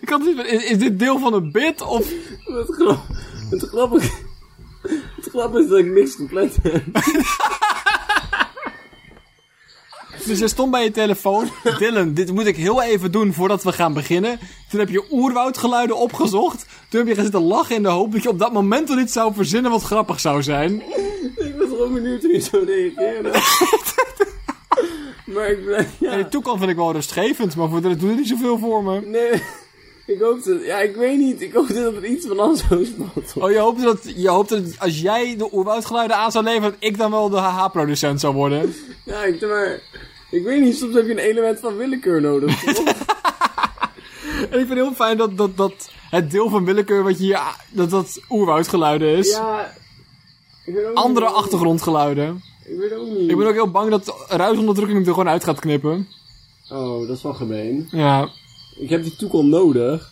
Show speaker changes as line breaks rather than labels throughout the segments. ik had niet, is, is dit deel van een bit of...
Het, grap, het, grappige, het grappige is dat ik niks gepland heb.
Dus jij stond bij je telefoon. Dylan, dit moet ik heel even doen voordat we gaan beginnen. Toen heb je oerwoudgeluiden opgezocht. Toen heb je gaan zitten lachen in de hoop dat je op dat moment wel iets zou verzinnen wat grappig zou zijn.
Ik was gewoon benieuwd hoe je zou reageren. maar ik ben... Ja.
En de toekomst vind ik wel rustgevend, maar voor de rest doet het niet zoveel voor me.
Nee, ik hoop dat... Ja, ik weet niet. Ik hoop dat er iets van anders zou spotten.
Oh, je hoopte dat, je hoopte dat als jij de oerwoudgeluiden aan zou leveren, dat ik dan wel de HH-producent zou worden.
Ja, ik denk maar... Ik weet niet, soms heb je een element van willekeur nodig. toch?
En ik vind het heel fijn dat, dat, dat het deel van willekeur wat je hier, a- dat dat oerwoudgeluiden is.
ja... Ik weet ook
Andere
niet, waarom.
achtergrondgeluiden.
Ik weet ook niet.
Ik ben ook heel bang dat ruisonderdrukking er gewoon uit gaat knippen.
Oh, dat is wel gemeen.
Ja.
Ik heb die toekom nodig.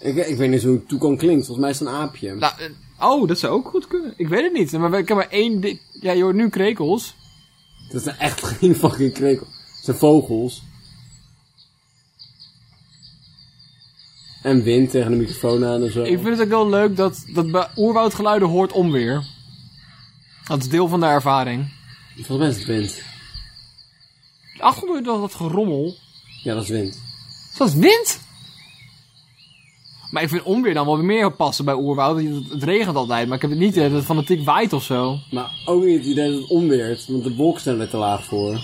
Ik, ik weet niet eens hoe toekom klinkt. Volgens mij is het een aapje.
Nou, eh, oh, dat zou ook goed kunnen. Ik weet het niet. Maar ik heb maar één... di- Ja, je hoort nu krekels.
Dat is echt geen fucking krekel. Het zijn vogels. En wind tegen de microfoon aan en zo.
Ik vind het ook heel leuk dat, dat bij oerwoudgeluiden hoort onweer. Dat is deel van de ervaring.
Volgens mij is het wind.
Achter me dat, dat gerommel.
Ja, dat is wind.
Is dat wind? Maar ik vind onweer dan wel weer meer passen bij oerwoud. want Het het regent altijd, maar ik heb het niet eh, dat het fanatiek waait of zo.
Maar ook niet het idee dat het onweert, want de wolken zijn er te laag voor.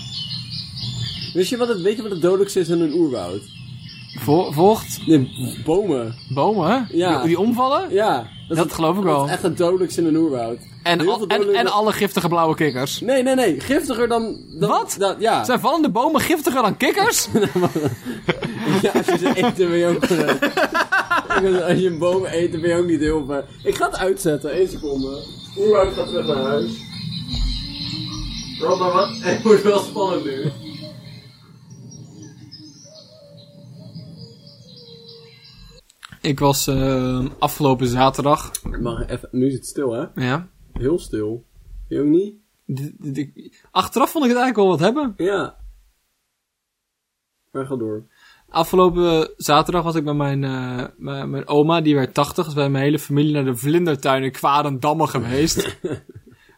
Weet je wat het, weet je wat het dodelijkste is in een oerwoud?
Vo- vocht,
Nee, bomen.
bomen,
Ja.
die, die omvallen.
Ja.
Dat,
is-
geloof ik
Dat
wel.
is echt het dodelijkste in een oerwoud.
En,
Heel
al-
veel
en,
dodelijker-
en alle giftige blauwe kikkers.
Nee, nee, nee. Giftiger dan... dan
Wat?
dan- ja.
Ah. Zijn vallende bomen giftiger dan kikkers?
Ja, als je ze eet, dan ben je ook... eh, als je een boom eet, dan ben je ook niet heel ver. Ik ga het uitzetten. één seconde. Oerwoud gaat terug naar huis. Rob, maar wat? Het wordt wel spannend nu.
ik was eh, afgelopen zaterdag.
Maar even, nu is het stil, hè?
Ja.
Heel stil. Je ook niet?
D- d- ik- achteraf vond ik het eigenlijk wel wat hebben.
Ja. Maar ga door.
Afgelopen zaterdag was ik met mijn, eh, mijn, mijn oma, die werd 80. Dus bij mijn hele familie naar de Vlindertuin in Kwarendamme geweest.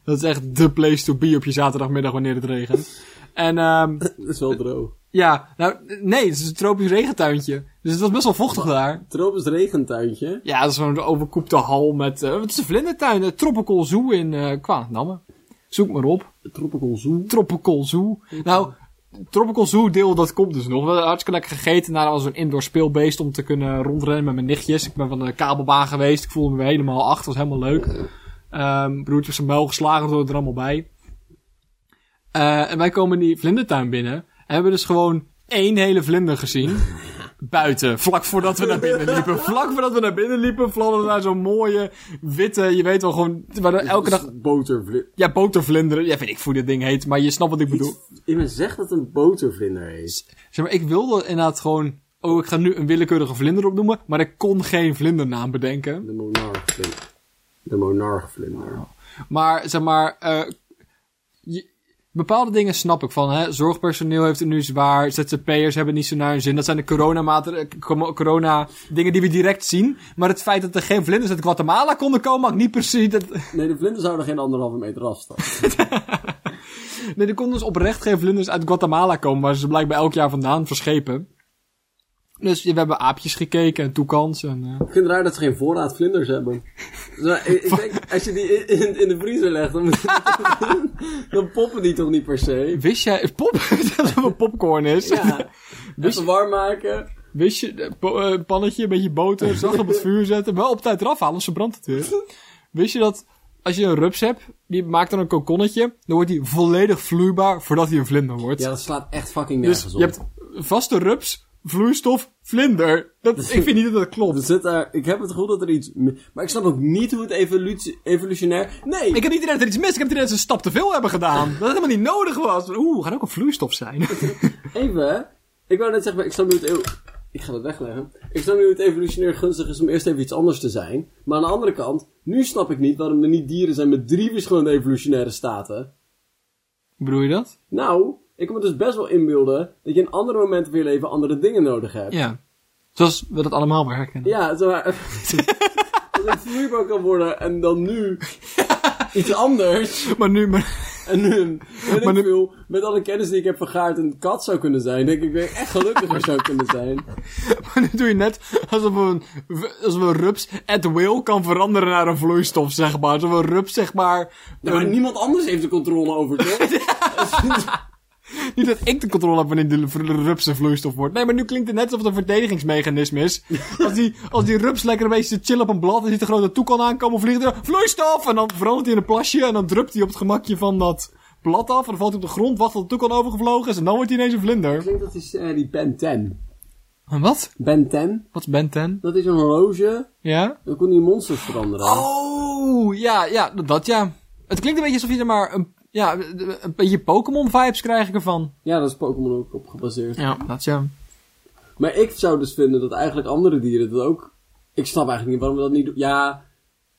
Dat is echt de place to be op je zaterdagmiddag wanneer het regent. En ehm,
Het is wel droog.
ja, nou nee, het is een tropisch regentuintje. Dus het was best wel vochtig daar.
Tropisch regentuintje.
Ja, dat is gewoon een overkoepte hal met... eh, het is een vlindertuin, de Tropical Zoo in eh Kwaandamme. Zoek maar op.
Tropical Zoo.
Tropical Zoo. Nou, Tropical Zoo deel, dat komt dus nog. We hadden hartstikke lekker gegeten. Daarna was er een indoor speelbeest om te kunnen rondrennen met mijn nichtjes. Ik ben van de kabelbaan geweest. Ik voelde me weer helemaal achter. was helemaal leuk. Ehm broertje zijn muil geslagen, door er allemaal bij. Eh, en wij komen die vlindertuin binnen. En hebben dus gewoon één hele vlinder gezien. Buiten, vlak voordat we naar binnen liepen. Vlak voordat we naar binnen liepen, vladderden we naar zo'n mooie, witte, je weet wel gewoon, waar er elke
dus
dag,
Botervlinder.
ja, botervlinderen, ja, weet ik hoe dit ding heet, maar je snapt wat ik bedoel.
Iemand zegt dat het een botervlinder is.
Zeg maar, ik wilde inderdaad gewoon... Oh, ik ga nu een willekeurige vlinder opnoemen. Maar ik kon geen vlindernaam bedenken.
De monarchvlinder. De monarchvlinder.
Maar zeg maar... eh, je- bepaalde dingen snap ik van. Hè? Zorgpersoneel heeft het nu zwaar. ZZP'ers hebben niet zo naar hun zin. Dat zijn de coronamater- eh, com- corona dingen die we direct zien. Maar het feit dat er geen vlinders uit Guatemala konden komen... had ik niet precies... Dat...
Nee, de vlinders zouden geen anderhalve meter afstand.
Nee, er konden dus oprecht geen vlinders uit Guatemala komen, waar ze blijkbaar elk jaar vandaan verschepen. Dus we hebben aapjes gekeken en toekans en... eh,
Ik vind het raar dat ze geen voorraad vlinders hebben. Zo, ik, ik denk, als je die in- in, in de vriezer legt, dan, dan poppen die toch niet per se.
Wist jij... Pop? dat het een popcorn is.
Ja, even warm maken.
Wist je... eh, po- eh, pannetje, een beetje boter, zacht op het vuur zetten. Wel op tijd eraf halen, anders brandt het weer. Wist je dat als je een rups hebt, die maakt dan een kokonnetje, dan wordt die volledig vloeibaar voordat hij een vlinder wordt.
Ja, dat slaat echt fucking
dus
nergens
je
op.
hebt vaste rups, vloeistof, vlinder. Dat, ik vind niet dat dat klopt.
Er zit daar, ik heb het gevoel dat er iets... mi- Maar ik snap ook niet hoe het evolutie, evolutionair... Nee!
Ik heb niet het idee dat er iets mis is. Ik heb het idee dat ze een stap te veel hebben gedaan. Dat het helemaal niet nodig was. Oeh, gaat ook een vloeistof zijn.
Even, hè. Ik wou net zeggen, maar ik snap nu het eeuw... Ik ga dat wegleggen. Ik snap nu hoe het evolutionair gunstig is om eerst even iets anders te zijn. Maar aan de andere kant, nu snap ik niet waarom er niet dieren zijn met drie verschillende evolutionaire staten.
Bedoel je dat?
Nou, Ik kan me dus best wel inbeelden dat je in andere momenten van je leven andere dingen nodig hebt.
Ja. Zoals we dat allemaal wel herkennen.
Ja, zo maar. dat het vloeibaar kan worden en dan nu iets anders.
Maar nu, maar,
En nu, weet
Maar
ik
nu-
veel, met alle kennis die ik heb vergaard een kat zou kunnen zijn, denk ik weer echt gelukkiger zou kunnen zijn.
maar nu doe je net alsof een, alsof een rups at will kan veranderen naar een vloeistof, zeg maar. Alsof een rups, zeg maar...
Ja, maar niemand anders heeft de controle over, toch?
Niet dat ik de controle heb wanneer de v- rups een vloeistof wordt. Nee, maar nu klinkt het net alsof het een verdedigingsmechanisme is. Als die, als die rups lekker een beetje zit chillen op een blad en ziet een grote toekan aankomen, vliegt er vloeistof! En dan verandert hij in een plasje en dan drupt hij op het gemakje van dat blad af. En dan valt hij op de grond, wacht tot de toekan overgevlogen is en dan wordt hij ineens een
Ik
vlinder.
denk dat is eh, die Ben 10.
En wat?
Ben 10?
Wat is Ben 10?
Dat is een horloge.
Ja?
Dan kon die monsters veranderen.
Oh, ja, ja, dat ja. Het klinkt een beetje alsof je er maar een, ja, een beetje Pokémon-vibes krijg ik ervan.
Ja, dat is Pokémon ook op gebaseerd.
Ja, dat ja.
Maar ik zou dus vinden dat eigenlijk andere dieren dat ook... Ik snap eigenlijk niet waarom we dat niet doen. Ja,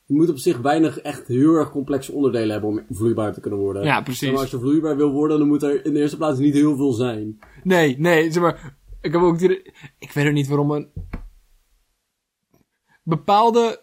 je moet op zich weinig echt heel erg complexe onderdelen hebben om vloeibaar te kunnen worden.
Ja, precies.
Maar als je vloeibaar wil worden, dan moet er in de eerste plaats niet heel veel zijn.
Nee, nee, zeg maar. Ik heb ook die. Ik weet ook niet waarom een. Bepaalde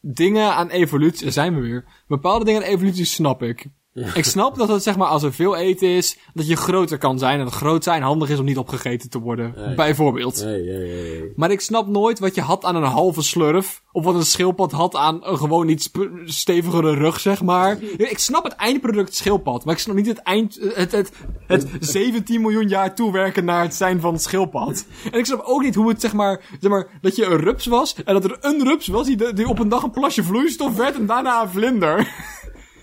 dingen aan evolutie. Daar zijn we weer. Bepaalde dingen aan evolutie snap ik. Ik snap dat het zeg maar als er veel eten is, dat je groter kan zijn. En dat groot zijn handig is om niet opgegeten te worden.
Nee.
Bijvoorbeeld.
Nee, nee, nee. nee.
Maar ik snap nooit wat je had aan een halve slurf. Of wat een schildpad had aan een gewoon iets sp- stevigere rug, zeg maar. Ik snap het eindproduct schildpad. Maar ik snap niet het eind... Het, het, het 17 miljoen jaar toewerken naar het zijn van schildpad. En ik snap ook niet hoe het, zeg maar... Zeg maar dat je een rups was. En dat er een rups was die, de- die op een dag een plasje vloeistof werd. En daarna een vlinder.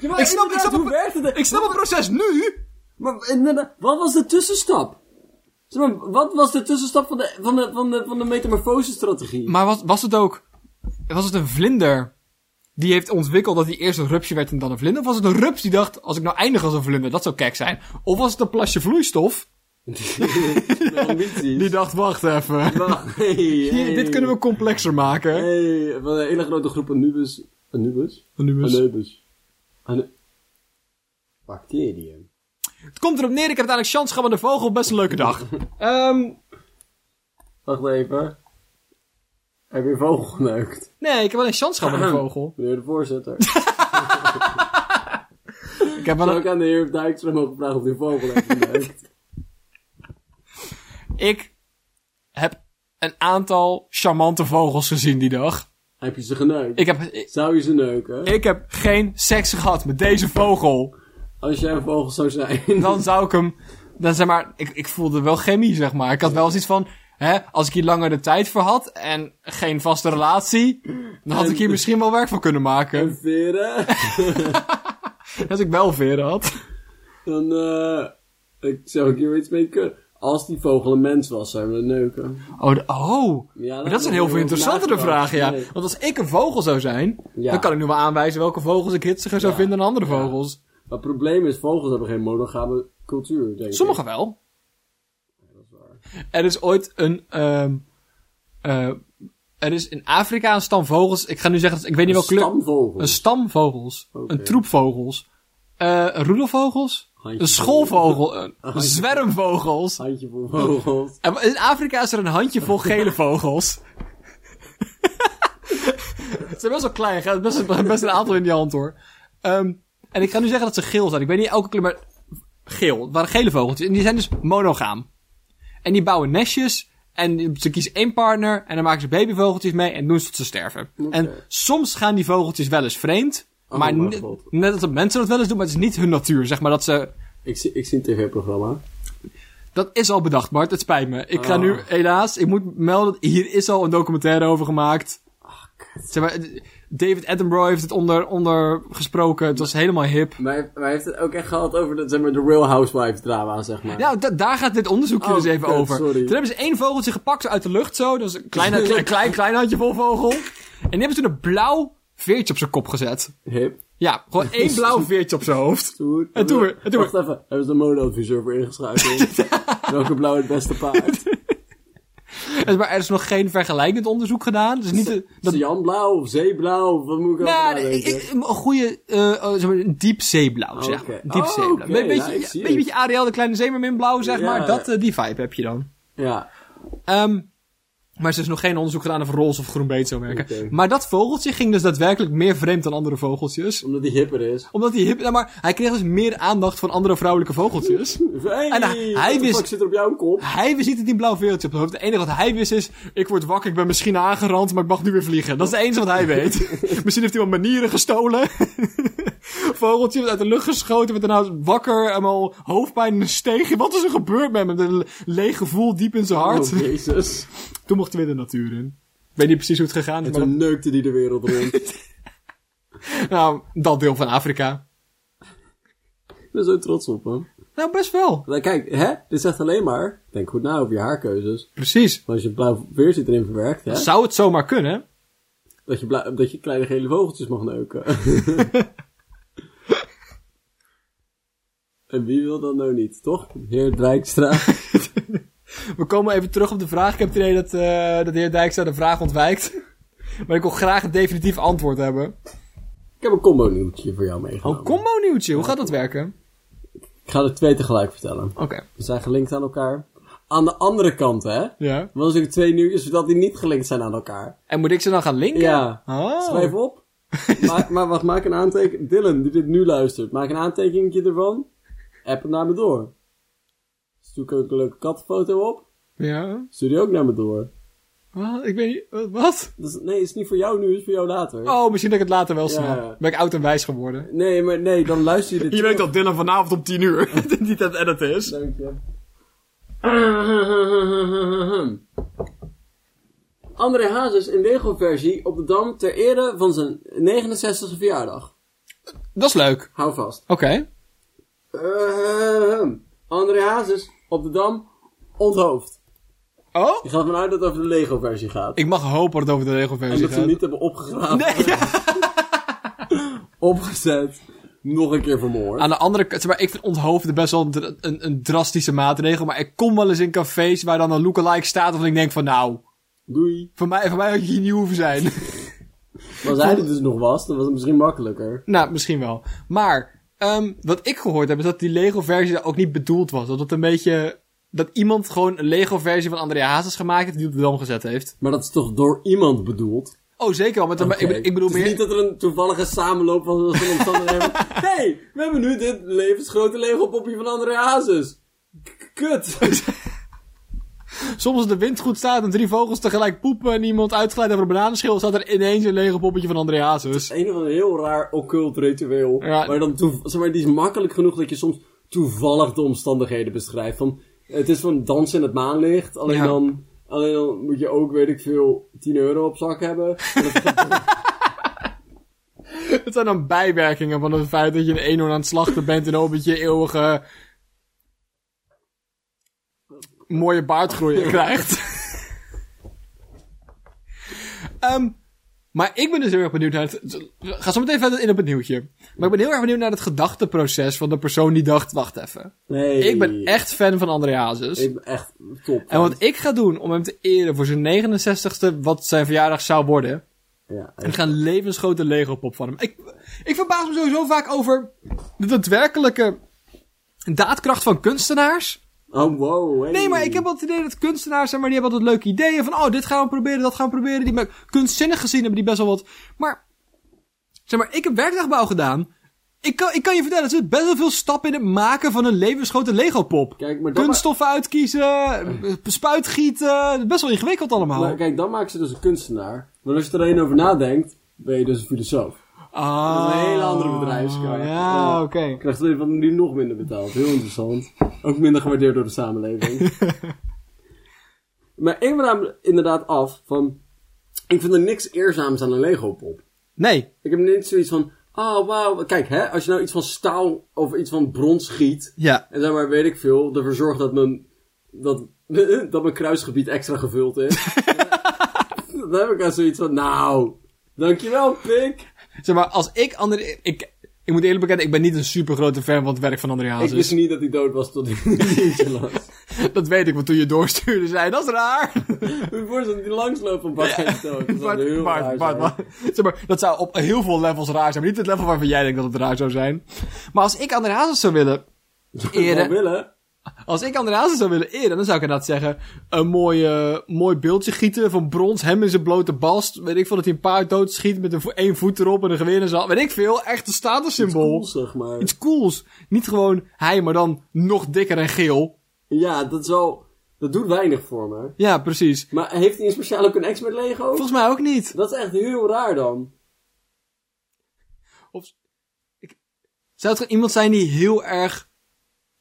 ik snap- ik snap
hoe
het-
werkt het?
Ik snap het proces nu.
Maar inderdaad, wat was de tussenstap? Zeg maar, wat was de tussenstap van de, van de, van de, van de metamorfose-strategie?
Maar was, was het ook... Was het een vlinder die heeft ontwikkeld dat hij eerst een rupsje werd en dan een vlinder? Of was het een rups die dacht, als ik nou eindig als een vlinder, dat zou kek zijn? Of was het een plasje vloeistof
De ambities.
die dacht, wacht even.
Wacht, hey, hey.
Hier, dit kunnen we complexer maken.
Hey, van een hele grote groep Anubis. Anubis?
Anubis.
Anubis. Anu... Bacteriën.
Het komt erop neer, ik heb uiteindelijk chance gehad met de vogel. Best een leuke dag. Ehm
Wacht even. Heb je een vogel geneukt?
nee, ik heb wel een chance gehad met
Ehm.
de vogel.
Meneer de voorzitter.
Ik heb wel
Zou
een-
ik aan de heer Dijkstra mogen vragen of die vogel heeft geneukt?
ik heb een aantal charmante vogels gezien die dag.
heb je ze geneukt?
Ik heb,
Zou je ze neuken?
ik heb geen seks gehad met deze vogel.
Als jij een vogel zou zijn.
dan zou ik hem. Dan zeg maar, ik, ik voelde wel chemie, zeg maar. Ik had wel zoiets van. Hè, als ik hier langer de tijd voor had en geen vaste relatie, dan had ik hier misschien wel werk van kunnen maken.
En veren?
Als ik wel veren had.
Dan eh, ik zou ik hier iets mee kunnen. Als die vogel een mens was, zou je hem dan neuken.
Oh, de- oh.
Ja,
Maar dat is een heel veel
over
interessantere
nagedacht.
vraag, ja.
Nee.
Want als ik een vogel zou zijn,
Ja.
dan kan ik nu wel aanwijzen welke vogels ik hitsiger zou
Ja.
vinden dan andere
Ja.
vogels.
Maar het probleem is, vogels hebben geen monogame cultuur, denk ik.
Sommige wel. Er is ooit een. ehm, eh, er is in Afrika een stam vogels. Ik ga nu zeggen, ik weet niet
Een
welke kleur.
stamvogel.
Een stam vogels.
Oké.
Een troep vogels. eh, roedelvogels.
Handje
een schoolvogel. Een een zwermvogels.
Handje voor vogels.
En in Afrika is er een handjevol gele vogels. Ze zijn best wel klein. Er best, best een aantal in die hand hoor. Ehm, en ik ga nu zeggen dat ze geel zijn. Ik weet niet elke kleur, maar geel. Het waren gele vogeltjes. En die zijn dus monogaam. En die bouwen nestjes. En ze kiezen één partner. En dan maken ze babyvogeltjes mee. En doen ze tot ze sterven. En soms gaan die vogeltjes wel eens vreemd.
Oh,
maar
mijn
ne-
God.
net als dat mensen dat wel eens doen. Maar het is niet hun natuur. Zeg maar dat ze
Ik zie, ik zie een tv-programma.
dat is al bedacht, Bart. Het spijt me. Ik ga
Oh.
nu, helaas, ik moet melden, hier is al een documentaire over gemaakt.
Oh,
Zeg maar, David Attenborough heeft het onder, onder gesproken. Het was helemaal hip.
Maar, hij- maar hij heeft het ook echt gehad over de, zeg maar, de Real Housewives drama, zeg maar.
Ja, da- daar gaat dit onderzoekje
Oh,
dus even
kut,
over.
sorry.
Toen hebben ze één vogeltje gepakt zo uit de lucht zo. Dat is een klein, een klein, klein handje vol vogel. En die hebben ze toen een blauw veertje op zijn kop gezet.
Hip.
Ja, gewoon één blauw veertje op zijn hoofd.
Stoer.
En toen weer, en toen
Wacht
weer.
even. Hebben ze de modeadviseur voor ingeschakeld? Welke blauw het beste paard?
En- Maar er is nog geen vergelijkend onderzoek gedaan. Dus niet de- dat,
Jan Blauw of Zeeblauw? Of wat moet ik
nou,
nou,
nee, ik- ik- een goede, eh, eh, zeg maar, een diep zeeblauw,
Oké.
zeg maar. Een Diep
Oh,
zeeblauw.
oké,
Een beetje,
ja, ik zie
een beetje,
het.
beetje Ariel de Kleine Zeemermin blauw, zeg
Ja,
maar.
ja.
Dat, eh, die vibe heb je dan.
Ja.
Ehm, maar ze is nog geen onderzoek gedaan of roze of groen beet zou werken.
Oké.
Maar dat vogeltje ging dus daadwerkelijk meer vreemd dan andere vogeltjes.
Omdat hij hipper is.
Omdat hij hip... Nou, maar hij kreeg dus meer aandacht van andere vrouwelijke vogeltjes.
Hey,
En hij- hij
what the
wist-
fuck zit er op jouw kop?
Hij wist niet dat hij een blauw veeltje op het hoofd. Het enige wat hij wist is... Ik word wakker, ik ben misschien aangerand, maar ik mag nu weer vliegen. Dat is het enige wat hij weet. misschien heeft hij wat manieren gestolen. Vogeltje werd uit de lucht geschoten, werd daarna wakker. Helemaal hoofdpijn in een steegje. Wat is er gebeurd met hem? Met een leeg gevoel diep in zijn hart.
Oh, Jezus.
Toen mocht hij weer de natuur in. Ik weet niet precies hoe het gegaan is,
En
maar
toen neukte hij de wereld rond.
nou, dat deel van Afrika.
Ik ben zo trots op hem.
Nou, best wel.
Nou, kijk, hè? Dit zegt alleen maar... Denk goed na over je haarkeuzes.
Precies.
Want als je blauw veertje erin verwerkt, hè?
Zou het zomaar kunnen?
Dat je, blauw- dat je kleine gele vogeltjes mag neuken. en wie wil dat nou niet, toch? Heer Dijkstra.
We komen even terug op de vraag. Ik heb het idee dat, eh, dat de heer Dijkstra de vraag ontwijkt. Maar ik wil graag een definitief antwoord hebben.
Ik heb een combo nieuwtje voor jou meegenomen.
Oh, combo nieuwtje. Hoe gaat dat werken?
Ik ga er twee tegelijk vertellen.
Oké.
Ze zijn gelinkt aan elkaar. Aan de andere kant, hè?
Ja.
Want natuurlijk twee nieuwtjes zodat die niet gelinkt zijn aan elkaar.
En moet ik ze dan gaan linken?
Ja. Schrijf
Oh.
op. maar, maar wacht, maak een aantekening. Dylan, die dit nu luistert, maak een aantekeningetje ervan. App het naar me door. Zoek ook een leuke kattenfoto op.
Ja.
Stuur die ook naar me door.
Wat? Ik weet niet... wat- Wat?
Dus, nee, het is niet voor jou nu, het is voor jou later.
Oh, misschien dat ik het later wel snap.
Ja.
Ben ik oud en wijs geworden.
Nee, maar nee, dan luister je dit terug.
Dylan vanavond om 10 uur niet aan het editen is.
Dank je. André Hazes in Lego-versie op de Dam ter ere van zijn 69e verjaardag.
Dat is leuk.
Hou vast.
Oké.
Ahem. André Hazes op de Dam onthoofd.
Oh?
Ik ga ervan uit dat het over de Lego-versie gaat.
Ik mag hopen dat het over de
en
regelversie
dat ze hem
gaat.
niet hebben opgegraven,
Nee, ja.
opgezet, nog een keer vermoord.
Aan de andere kant, zeg maar, ik vind onthoofden best wel een, dra- een, een drastische maatregel. Maar ik kom wel eens in cafés waar dan een lookalike staat. Of ik denk van nou,
Doei.
voor mij, voor mij had je hier niet hoeven zijn.
Maar als hij er dus nog was, dan was het misschien makkelijker.
nou, misschien wel. Maar ehm, wat ik gehoord heb is dat die Lego versie daar ook niet bedoeld was. Dat het een beetje... Dat iemand gewoon een Lego versie van André Hazes gemaakt heeft die op de dam gezet heeft.
Maar dat is toch door iemand bedoeld?
Oh, zeker wel. Maar dan- maar ik, ik bedoel
het is
meer...
niet dat er een toevallige samenloop van van omstandigheden. Hé, hey, we hebben nu dit levensgrote Lego-popje van André Hazes. K- Kut.
Soms als de wind goed staat en drie vogels tegelijk poepen en iemand uitgeleid over een bananenschil, staat er ineens een lege poppetje van André Hazes.
een of ander heel raar occult ritueel.
Ja.
Maar, dan toe- zeg maar die is makkelijk genoeg dat je soms toevallig de omstandigheden beschrijft. Van, het is van dansen in het maanlicht. Alleen,
Ja.
dan, alleen dan moet je ook, weet ik veel, 10 euro op zak hebben. En dat-
Het zijn dan bijwerkingen van het feit dat je een eenhoorn aan het slachten bent en ook met je eeuwige mooie baardgroei krijgt. Ehm, maar ik ben dus heel erg benieuwd naar het... Ga zo meteen verder in op het nieuwtje. Maar ik ben heel erg benieuwd naar het gedachteproces van de persoon die dacht, wacht even.
nee.
Ik ben echt fan van André Hazes.
Ik ben echt top.
En wat ik ga doen om hem te eren voor zijn 69ste, wat zijn verjaardag zou worden.
Ja,
Ik ga een levensgrote Lego pop van hem. Ik, ik verbaas me sowieso vaak over de daadwerkelijke daadkracht van kunstenaars.
Oh, wow. hey.
Nee, maar ik heb altijd het idee dat kunstenaars zijn, maar die hebben altijd leuke ideeën. Van, oh, dit gaan we proberen, dat gaan we proberen. Die, maar kunstzinnig gezien hebben die best wel wat. Maar, zeg maar, ik heb werkdagbouw gedaan. Ik kan, ik kan je vertellen, er zit best wel veel stappen in het maken van een levensgrote Lego pop.
Kijk, maar dan,
Kunststoffen uitkiezen, spuitgieten, best wel ingewikkeld allemaal.
Maar kijk, dan maak je dus een kunstenaar. Maar als je er alleen over nadenkt, ben je dus een filosoof.
Ah,
Dat is een hele andere bedrijfskaart.
Ja,
Ja.
oké.
Je krijgt alleen van nu nog minder betaald. Heel interessant. Ook minder gewaardeerd door de samenleving. maar ik ben namelijk inderdaad af van... Ik vind er niks eerzaams aan een Lego-pop.
Nee,
Ik heb niet zoiets van... Oh, wauw. Kijk, hè, als je nou iets van staal of iets van brons schiet...
ja.
En zeg maar, weet ik veel, ervoor zorgt dat mijn, dat, dat mijn kruisgebied extra gevuld is. dan heb ik al zoiets van, nou, dankjewel, pik.
Zeg maar, als ik andere... Ik, ik Ik moet eerlijk bekennen, ik ben niet een super grote fan van het werk van André
Ik
Hazes.
wist niet dat hij dood was tot ik een uurtje las.
Dat weet ik, want toen je doorstuurde zei, dat is raar.
Moet je voorstellen dat hij langsloopt van Bart Rijnstel? Dat zou heel
Bart,
raar
Bart,
zijn.
Bart, Bart. Zeg maar, dat zou op heel veel levels raar zijn. Maar niet het level waarvan jij denkt dat het raar zou zijn. Maar als ik André Hazes zou willen
Zou
eren...
willen?
Als ik André Hazes zou willen eren, dan zou ik inderdaad zeggen... Een mooi, eh, mooi beeldje gieten van brons. Hem in zijn blote bast. Weet ik veel, dat hij een paard doodschiet met een, vo- één voet erop en een geweer in zijn hand. Weet ik veel, echt een statussymbool.
Cool, zeg maar.
Iets cools. Niet gewoon hij, maar dan nog dikker en geel.
Ja, dat is wel... Dat doet weinig voor me.
Ja, precies.
Maar heeft hij in speciaal ook een ex met Lego?
Volgens mij ook niet.
Dat is echt heel raar dan.
Of, ik, zou het gewoon iemand zijn die heel erg,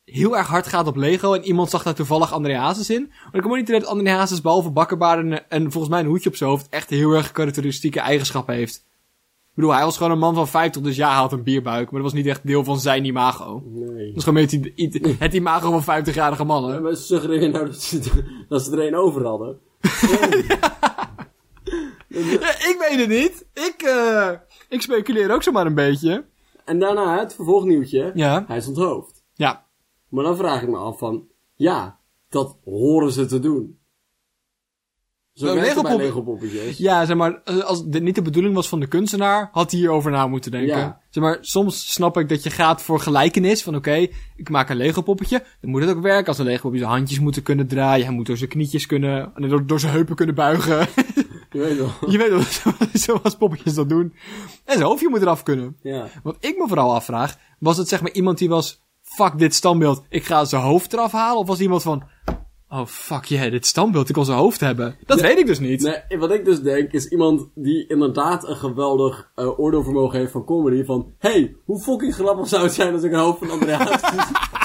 heel erg hard gaat op Lego en iemand zag daar toevallig André Hazes in? Maar ik kom ook niet dat André Hazes behalve bakkenbaar en, en volgens mij een hoedje op zijn hoofd echt heel erg karakteristieke eigenschappen heeft. Ik bedoel, hij was gewoon een man van 50, dus ja, hij had een bierbuik, maar dat was niet echt deel van zijn imago.
Nee.
Dat is gewoon het, i- het imago van 50-jarige mannen.
Maar ze suggereren nou dat ze, dat ze er een over hadden.
Ja, ik weet het niet. Ik, eh, ik speculeer ook zomaar een beetje.
En daarna het vervolgnieuwtje.
Ja.
Hij is onthoofd.
Ja,
Maar dan vraag ik me af van... Ja, dat horen ze te doen. Zo
Bij
werkt het bij
Lego-poppen-
Lego-poppetjes.
Ja, zeg maar, eh, als dit niet de bedoeling was van de kunstenaar, had hij hierover na moeten denken.
Ja.
Zeg maar, soms snap ik dat je gaat voor gelijkenis. Van oké, ik maak een Lego-poppetje. Dan moet het ook werken als een Lego-poppetje. Zijn handjes moeten kunnen draaien. Hij moet door zijn knietjes kunnen, nee, door, door zijn heupen kunnen buigen.
Je weet wel.
je weet wel, zo- zoals poppetjes dat doen. En zijn hoofdje moet eraf kunnen.
Ja.
Wat ik me vooral afvraag, was het zeg maar iemand die was... Fuck dit standbeeld, ik ga zijn hoofd eraf halen. Of was het iemand van... Oh fuck yeah, dit standbeeld, ik wil zijn hoofd hebben. Dat weet ik dus niet.
Nee, wat ik dus denk is iemand die inderdaad een geweldig eh, oordeelvermogen heeft van comedy. Van, hey, hoe fucking grappig zou het zijn als ik een hoofd van André Hazes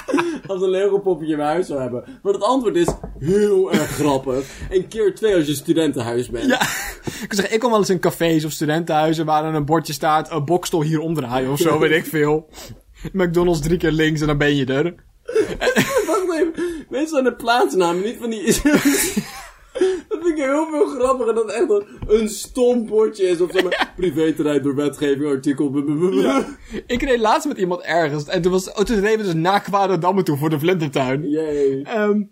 als een Lego-poppetje in mijn huis zou hebben. Maar het antwoord is heel erg grappig. En keer twee als je studentenhuis bent.
Ja, ik kan zeggen, ik kom wel eens in cafés of studentenhuizen waar dan een bordje staat, een bokstel hier omdraaien of zo, weet ik veel. McDonald's drie keer links en dan ben je er.
Wacht even, meestal de plaatsnaam, niet van die... Dat vind ik heel veel grappiger dan echt een, een stom bordje is. Of zeg maar, privéterrein door wetgeving, artikel... Ja.
Ik reed laatst met iemand ergens en toen, was, oh, toen reden we dus naar Kwaderdamme toe voor de Vlententuin.
Yay.
Ehm,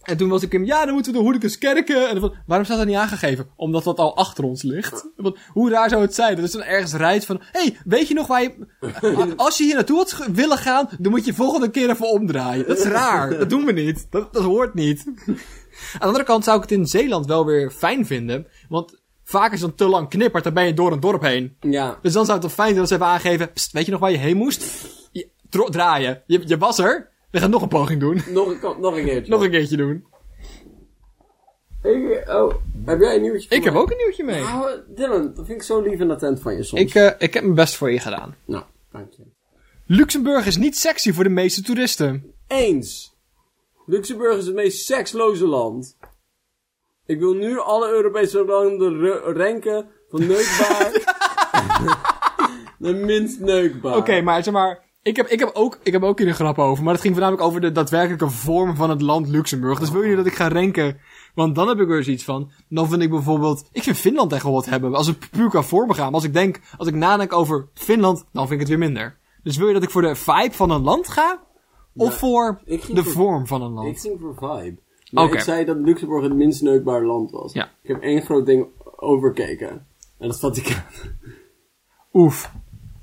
en toen was ik hem, ja, dan moeten we de Hoedekenskerken. En dan van, waarom staat dat niet aangegeven? Omdat dat al achter ons ligt. Want hoe raar zou het zijn? Dat is dan ergens rijdt van, hey, weet je nog waar je... a- Als je hier naartoe had ge- willen gaan, dan moet je volgende keer even omdraaien. Dat is raar. Dat doen we niet. Dat, dat hoort niet. Aan de andere kant zou ik het in Zeeland wel weer fijn vinden. Want vaak is dan te lang knipperd, dan ben je door een dorp heen.
Ja.
Dus dan zou het toch fijn zijn als ze even aangeven, "Pst, weet je nog waar je heen moest? Je, dro- draaien. Je, je was er. We gaan nog een poging doen.
Nog een, kant- nog een keertje.
Nog een keertje doen.
Ik, oh, heb jij een nieuwtje voor
Ik heb
mij?
ook een nieuwtje mee.
Oh, Dylan, dat vind ik zo lief en attent van je soms.
Ik, eh, ik heb mijn best voor je gedaan.
Nou, dank je.
Luxemburg is niet sexy voor de meeste toeristen.
Eens. Luxemburg is het meest seksloze land. Ik wil nu alle Europese landen ru- ranken van neukbaar naar minst neukbaar.
Oké, maar zeg maar. Ik heb, ik, heb ook, ik heb ook hier een grap over. Maar het ging voornamelijk over de daadwerkelijke vorm van het land Luxemburg. Dus wil je dat ik ga renken? Want dan heb ik er dus iets van. Dan vind ik bijvoorbeeld. Ik vind Finland echt wel wat hebben. Als ik puur qua vormen ga. Maar als ik denk. Als ik nadenk over Finland. Dan vind ik het weer minder. Dus wil je dat ik voor de vibe van een land ga? Of
Ja,
voor
ik ging
de
voor-
vorm van een land?
Ik ging voor vibe. Maar
Oké.
ik zei dat Luxemburg het minst neukbaar land was.
Ja.
Ik heb één groot ding overkeken. En dat is Vaticaan.
Oef.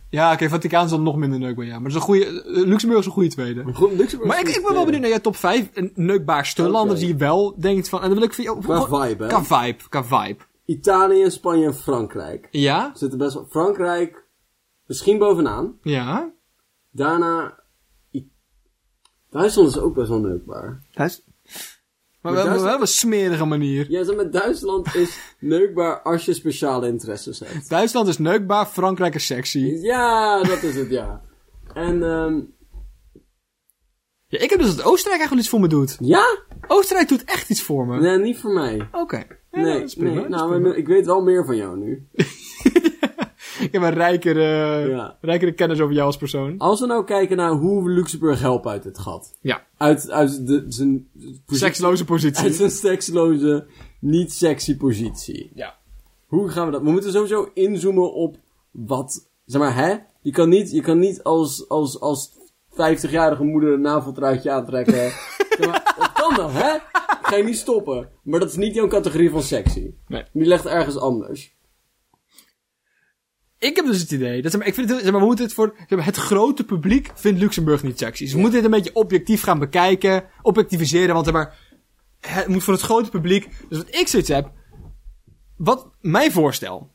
Ja, oké, Vaticaan is dan nog minder neuk bij jou. Maar dat is een goede, eh, Luxemburg is een goede tweede.
Goed, Luxemburg
Maar ik,
is
ik ben wel benieuwd naar jouw top 5 neukbaarste
Oké.
landen die je wel denkt van. En dan wil ik van jou.
Qua
gewoon-
vibe, hè?
Qua vibe, qua vibe.
Italië, Spanje en Frankrijk.
Ja?
zitten best wel Frankrijk misschien bovenaan.
Ja?
Daarna I- Duitsland is ook best wel neukbaar.
Maar wel,
Duitsland-
wel op een smerige manier.
Ja, zeg maar Duitsland is neukbaar als je speciale interesses hebt.
Duitsland is neukbaar, Frankrijk is sexy.
Ja, dat is het, ja. En ehm
Ja, ik heb dus dat Oostenrijk echt wel iets voor me doet.
ja?
Oostelijk doet echt iets voor me.
Nee, niet voor mij.
Oké. Ja,
Nee,
dat is prima,
nee.
dat is
Nou,
prima.
maar ik weet wel meer van jou nu.
Ik heb een rijkere,
Ja.
rijkere kennis over jou als persoon.
Als we nou kijken naar hoe we Luxemburg helpen uit het gat.
Ja.
Uit, uit de, zijn positie-
Seksloze
uit
positie.
zijn seksloze, niet sexy positie.
Ja.
Hoe gaan we dat? We moeten sowieso inzoomen op wat. Zeg maar, hè? Je kan niet, je kan niet als, als, als 50-jarige moeder een naveltruitje aantrekken. Zeg maar, dat kan wel, hè? Ik Ga je niet stoppen. Maar dat is niet jouw categorie van sexy.
Nee.
Die ligt ergens anders.
Ik heb dus het idee. Dat, zeg maar, ik vind het, zeg maar, we moeten het voor zeg maar, het grote publiek vindt Luxemburg niet sexy. Dus we moeten dit een beetje objectief gaan bekijken, objectiviseren. Want zeg maar, het moet voor het grote publiek. Dus wat ik zoiets heb. Wat mijn voorstel.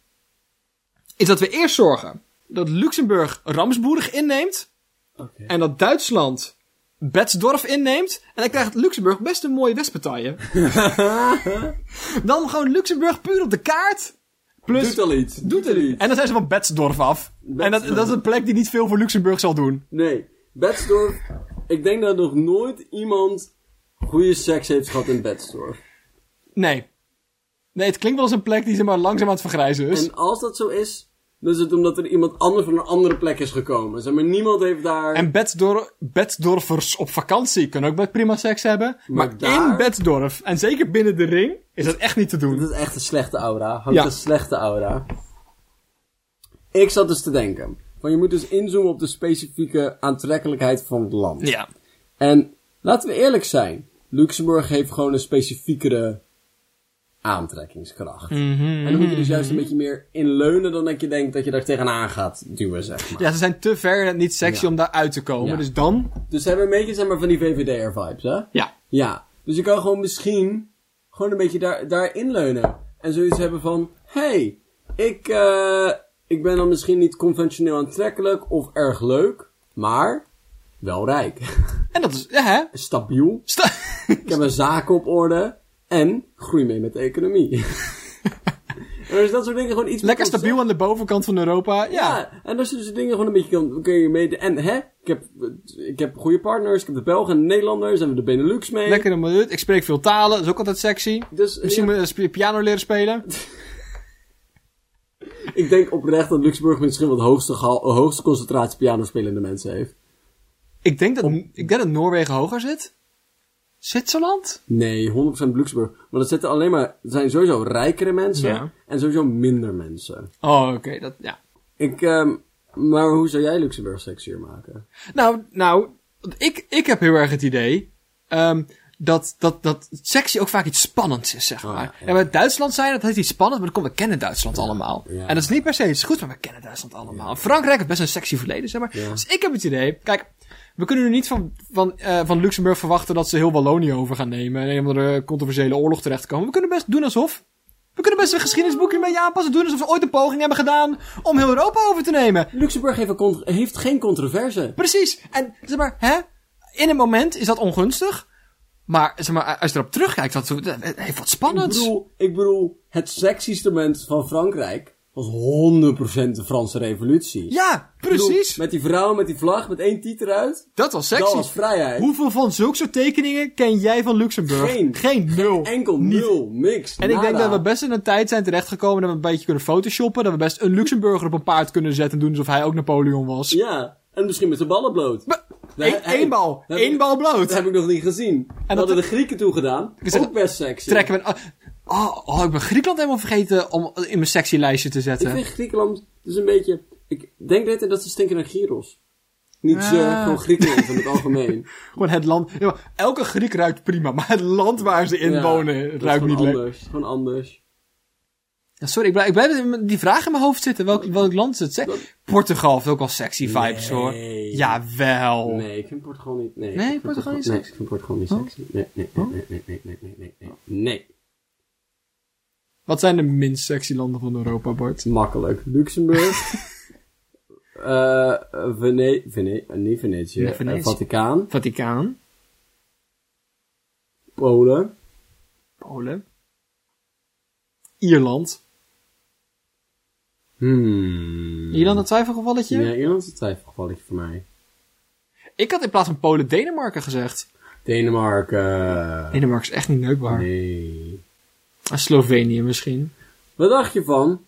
Is dat we eerst zorgen dat Luxemburg Ramsburg inneemt.
Oké.
En dat Duitsland Betsdorf inneemt. En dan krijgt Luxemburg best een mooie Westpartij. dan gewoon Luxemburg puur op de kaart. Plus,
Doet al iets. Dus Doet er iets.
en dan zijn ze van Betsdorf af. En dat, dat is een plek die niet veel voor Luxemburg zal doen.
Nee. Bedsdorf. Ik denk dat nog nooit iemand goede seks heeft gehad in Bedsdorf.
Nee. Nee, het klinkt wel als een plek die ze maar langzaam aan het vergrijzen is.
En als dat zo is, dan is het omdat er iemand anders van een andere plek is gekomen. Zeg maar, niemand heeft daar...
En Betsdor- Betsdorfers op vakantie kunnen ook best prima seks hebben. Maar,
Maar daar-
in Betsdorf, en zeker binnen de ring, is dat echt niet te doen.
Dat is echt een slechte aura. Hangt
Ja.
een slechte aura. Ik zat dus te denken. Van je moet dus inzoomen op de specifieke aantrekkelijkheid van het land.
Ja.
En laten we eerlijk zijn. Luxemburg heeft gewoon een specifiekere aantrekkingskracht.
Mhm,
En dan moet je dus juist een beetje meer inleunen dan dat je denkt dat je daar tegenaan gaat duwen, zeg maar.
Ja, ze zijn te ver in het niet sexy om daar uit te komen.
Ja.
Dus dan...
Dus ze hebben een beetje zeg maar, van die VVD'er-vibes, hè?
Ja.
Ja, dus je kan gewoon misschien gewoon een beetje daar, daarin leunen. En zoiets hebben van, hey, ik, eh, ik ben dan misschien niet conventioneel aantrekkelijk of erg leuk, maar wel rijk.
En dat is... Ja, hè?
Stabiel,
Sta-
ik heb mijn zaken op orde en groei mee met de economie. en als je dat soort dingen gewoon iets meer
Lekker
kan
stabiel aan de bovenkant van Europa.
ja.
Ja.
en als je dus die dingen gewoon een beetje kan, kun je mee... En hè, ik heb, ik heb goede partners, ik heb de Belgen en de Nederlanders, en we de Benelux mee.
Lekker een minuut. Ik spreek veel talen. Dat is ook altijd sexy.
Dus
Misschien
ja,
moet ik piano leren spelen.
ik denk oprecht dat Luxemburg misschien wel de hoogste, gehaal- de hoogste concentratie pianospelende mensen heeft.
Ik denk dat, ik denk dat Noorwegen hoger zit. Zwitserland?
Nee, 100% Luxemburg. Maar dat zitten alleen maar, het zijn sowieso rijkere mensen
Ja.
en sowieso minder mensen.
Oh, oké. dat, ja.
Ik, ehm, maar hoe zou jij Luxemburg sexier maken?
Nou, nou want ik, ik heb heel erg het idee ehm, dat, dat, dat sexy ook vaak iets spannends is, zeg maar.
Ah, ja, ja.
En bij Duitsland zijn dat heeft iets spannends, maar dan komt, we kennen Duitsland allemaal.
ja.
En dat is niet per se iets goeds, maar we kennen Duitsland allemaal. Frankrijk heeft best een sexy verleden, zeg maar.
Ja.
Dus ik heb het idee, kijk, we kunnen nu niet van, van, eh, van Luxemburg verwachten dat ze heel Wallonië over gaan nemen en een of andere controversiële oorlog terechtkomen. We kunnen best doen alsof. We kunnen best een geschiedenisboekje mee aanpassen, doen alsof ze ooit een poging hebben gedaan om heel Europa over te nemen.
Luxemburg heeft, een cont- heeft geen controverse.
Precies. En zeg maar, hè? In een moment is dat ongunstig. Maar zeg maar, als je erop terugkijkt, dat dat heeft wat
Ik
spannends.
bedoel, ik bedoel, het sexieste moment van Frankrijk was 100% de Franse revolutie.
ja,
Ik bedoel,
precies.
met die vrouw, met die vlag, met één tiet eruit.
dat was sexy.
Dat was vrijheid.
Hoeveel van zulke soort tekeningen ken jij van Luxemburg?
Geen.
Geen nul.
Enkel nul, niks.
en ik denk
nada.
dat we best in een tijd zijn terechtgekomen dat we een beetje kunnen photoshoppen. Dat we best een Luxemburger op een paard kunnen zetten en doen alsof hij ook Napoleon was.
Ja, en misschien met zijn ballen bloot.
Maar-
Nee,
Eén
hey,
één bal.
dat-
Eén bal bloot.
Dat heb ik nog niet gezien.
dat-
dat hadden de Grieken toe gedaan.
zeg-
ook best sexy.
Trekken we een- oh, oh, ik ben Griekenland helemaal vergeten om in mijn sexy lijstje te
Ik
zetten.
vind Griekenland dus een beetje... Ik denk dat dat ze stinken naar Gyros. Niet ze,
Ah.
gewoon Griekenland in het algemeen.
Gewoon het land. ja, maar elke Griek ruikt prima, maar het land waar ze in
Ja, dat
wonen
is
ruikt
gewoon
niet leuk.
anders. Gewoon anders.
Ja, sorry, ik blijf, ik blijf met die vraag in mijn hoofd zitten. Welk, welk land is het? Zeg- Portugal heeft ook wel sexy vibes
Nee.
hoor. Jawel.
Nee, ik vind Portugal niet... Nee, ik
Nee,
vind
Portugal niet
nee,
sexy.
ik vind Portugal niet sexy. Nee, nee, nee, nee, nee, nee, nee, nee, nee, nee. Nee,
Wat zijn de minst sexy landen van Europa, Bart?
makkelijk. Luxemburg. Eh Vene... Vene... Niet Venetië.
Nee,
eh,
Venetië.
Vaticaan.
Vaticaan,
Polen.
Polen, Ierland.
Hmm.
Ierland een twijfelgevalletje?
Ja, Ierland is een twijfelgevalletje voor mij.
Ik had in plaats van Polen Denemarken gezegd.
Denemarken.
Denemarken is echt niet neukbaar.
Nee.
Ah, Slovenië misschien.
Wat dacht je van?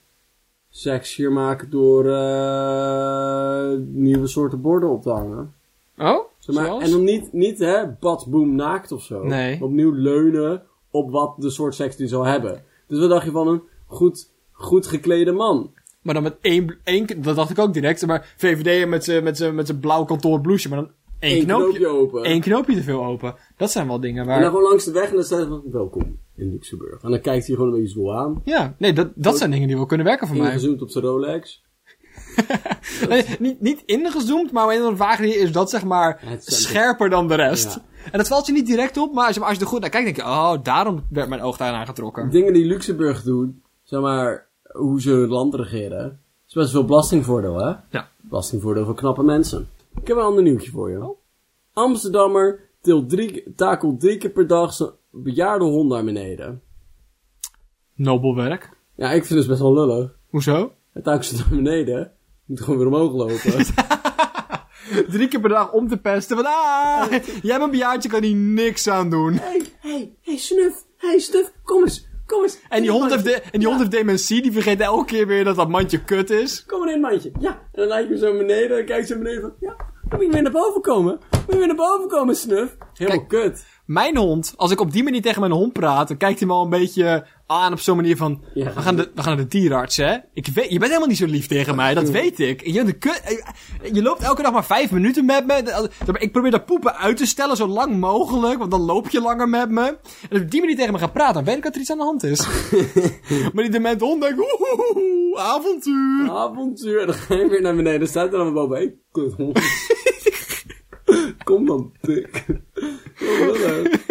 Sexier maken door eh, nieuwe soorten borden op te hangen.
Oh?
Zeg maar,
zoals?
en dan niet, niet hè, bad, boom, naakt of zo.
Nee.
Opnieuw leunen op wat de soort seks die zal hebben. Dus wat dacht je van een goed, goed geklede man?
Maar dan met één, bl- één... k- Dat dacht ik ook direct. Maar VVD'er met zijn met z'n- met z'n blauw kantoor blouseje. Maar dan één,
Eén
knoopje,
knoopje open.
Één knoopje te veel open. Dat zijn wel dingen
En dan
waar...
gewoon langs de weg en dan staat er van, welkom in Luxemburg. En dan kijkt hij gewoon een beetje zo aan.
Ja, nee, dat, dat zijn dingen die wel kunnen werken voor mij.
Ingezoomd op zijn Rolex.
Nee, niet, niet ingezoomd, maar op een of andere vage manier is dat zeg maar
Het centrum.
scherper dan de rest.
Ja.
En dat valt je niet direct op, maar als je, als je er goed naar kijkt, denk je, oh, daarom werd mijn oog daaraan getrokken.
Dingen die Luxemburg doen, zeg maar, hoe ze hun land regeren. is best veel belastingvoordeel, hè?
Ja.
Belastingvoordeel voor knappe mensen. Ik heb een ander nieuwtje voor je. Amsterdammer tilt drie, takelt drie keer per dag zijn bejaarde hond naar beneden.
Nobel werk.
Ja, ik vind het dus best wel lullig.
Hoezo?
Hij takelt ze naar beneden. Moet gewoon weer omhoog lopen.
Drie keer per dag om te pesten, want ah, jij bent een bejaardje, kan hier niks aan doen.
hey, hey, hey, snuf. Hey, snuf. Kom eens. Kom eens.
En die, hond heeft, de, en die
Ja.
hond heeft dementie, die vergeet elke keer weer dat dat mandje kut is.
Kom maar in, mandje. Ja. En dan lijkt me zo beneden. Dan kijkt ze beneden van... Ja, dan moet je weer naar boven komen. Moet je weer naar boven komen, snuf. Helemaal kut.
Mijn hond, als ik op die manier tegen mijn hond praat, dan kijkt hij me al een beetje aan op zo'n manier van...
Ja.
We, gaan de, we gaan naar de dierenarts, hè? Ik weet, je bent helemaal niet zo lief tegen mij, dat weet ik. Je, bent een kut, je loopt elke dag maar vijf minuten met me. Dat- dat- Ik probeer dat poepen uit te stellen zo lang mogelijk, want dan loop je langer met me. En als je op die manier tegen me gaat praten, dan weet ik dat er iets aan de hand is. maar die dement hond denkt, oeh, avontuur.
Avontuur. En dan ga je weer naar beneden. Dan staat er dan boven. Hey, kut hond. Kom dan, pik. Wat leuk.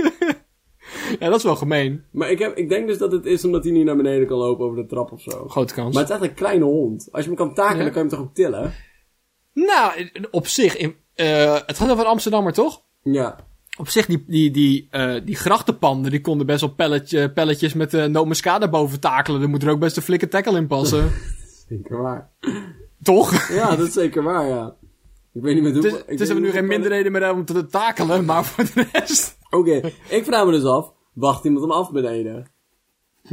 Ja, dat is wel gemeen.
maar ik, heb, ik denk dus dat het is omdat hij niet naar beneden kan lopen over de trap of zo.
Grote kans.
Maar het is echt een kleine hond. Als je hem kan takelen,
Ja.
dan kan je hem toch ook tillen?
Nou, in- op zich, in, eh, het gaat over een Amsterdammer, toch?
Ja.
op zich, die, die, die, eh, die grachtenpanden, die konden best wel pelletje, pelletjes met eh nootmuskaat boven takelen. Daar moet er ook best een flinke tackle in passen.
Zeker waar.
Toch?
Ja, dat is zeker waar, ja. Ik weet niet met hoe...
Dus,
ik weet
dus hebben we nu
niet
geen
hoeveel-
minderheden meer hebben om te takelen, maar voor de rest,
Oké, ik vraag me dus af, wacht iemand hem af beneden?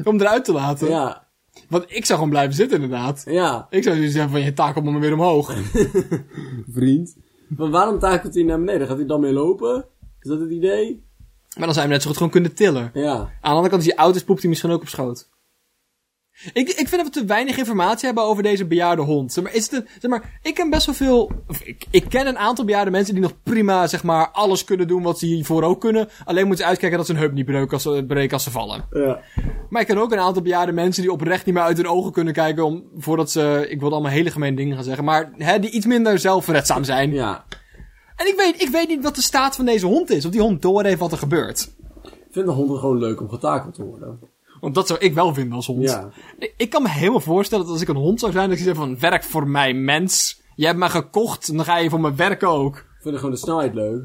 om eruit te laten.
Ja,
Want ik zou gewoon blijven zitten, inderdaad.
ja.
Ik zou zoiets zeggen van, je takel moet maar weer omhoog.
Vriend. Maar waarom takelt hij naar beneden? Gaat hij dan mee lopen? Is dat het idee?
Maar dan zou je hem net zo goed gewoon kunnen tillen.
Ja.
Aan de andere kant, als hij oud is, poept hij misschien ook op schoot. Ik, ik vind dat we te weinig informatie hebben over deze bejaarde hond. Zeg maar, is het een- zeg maar, ik ken best wel veel... of ik, ik ken een aantal bejaarde mensen die nog prima zeg maar, alles kunnen doen wat ze hiervoor ook kunnen. Alleen moeten ze uitkijken dat ze hun heup niet breuken als ze, breken als ze vallen.
Ja.
Maar ik ken ook een aantal bejaarde mensen die oprecht niet meer uit hun ogen kunnen kijken... Om, voordat ze... Ik wil allemaal hele gemeen dingen gaan zeggen. Maar hè, die iets minder zelfredzaam zijn.
Ja.
En ik weet, ik weet niet wat de staat van deze hond is. Of die hond doorheeft wat er gebeurt.
Ik vind de honden gewoon leuk om getakeld te worden.
Want dat zou ik wel vinden als hond.
Ja.
Ik- Ik kan me helemaal voorstellen dat als ik een hond zou zijn, dat ik zeg van, werk voor mij, mens. Je hebt me gekocht, en dan ga je voor me werken ook.
Ik vind gewoon de snelheid leuk.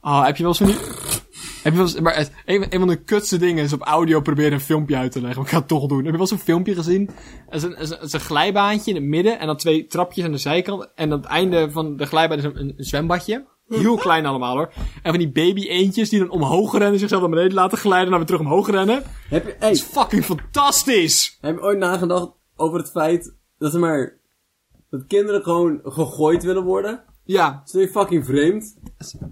Ah, heb je wel zo'n... Heb je wel eens, maar het- een, een van de kutste dingen is op audio proberen een filmpje uit te leggen. Maar ik ga het toch doen. Heb je wel eens een filmpje gezien? Het is een, het is een, het is een glijbaantje in het midden en dan twee trapjes aan de zijkant. En aan het einde van de glijbaan is een, een, een zwembadje. Heel klein allemaal hoor. En van die baby eentjes die dan omhoog rennen, zichzelf naar beneden laten glijden en dan weer terug omhoog rennen.
Heb je, hey,
Dat is fucking fantastisch!
heb je ooit nagedacht over het feit dat er maar... Dat kinderen gewoon gegooid willen worden?
Ja,
Is je fucking vreemd?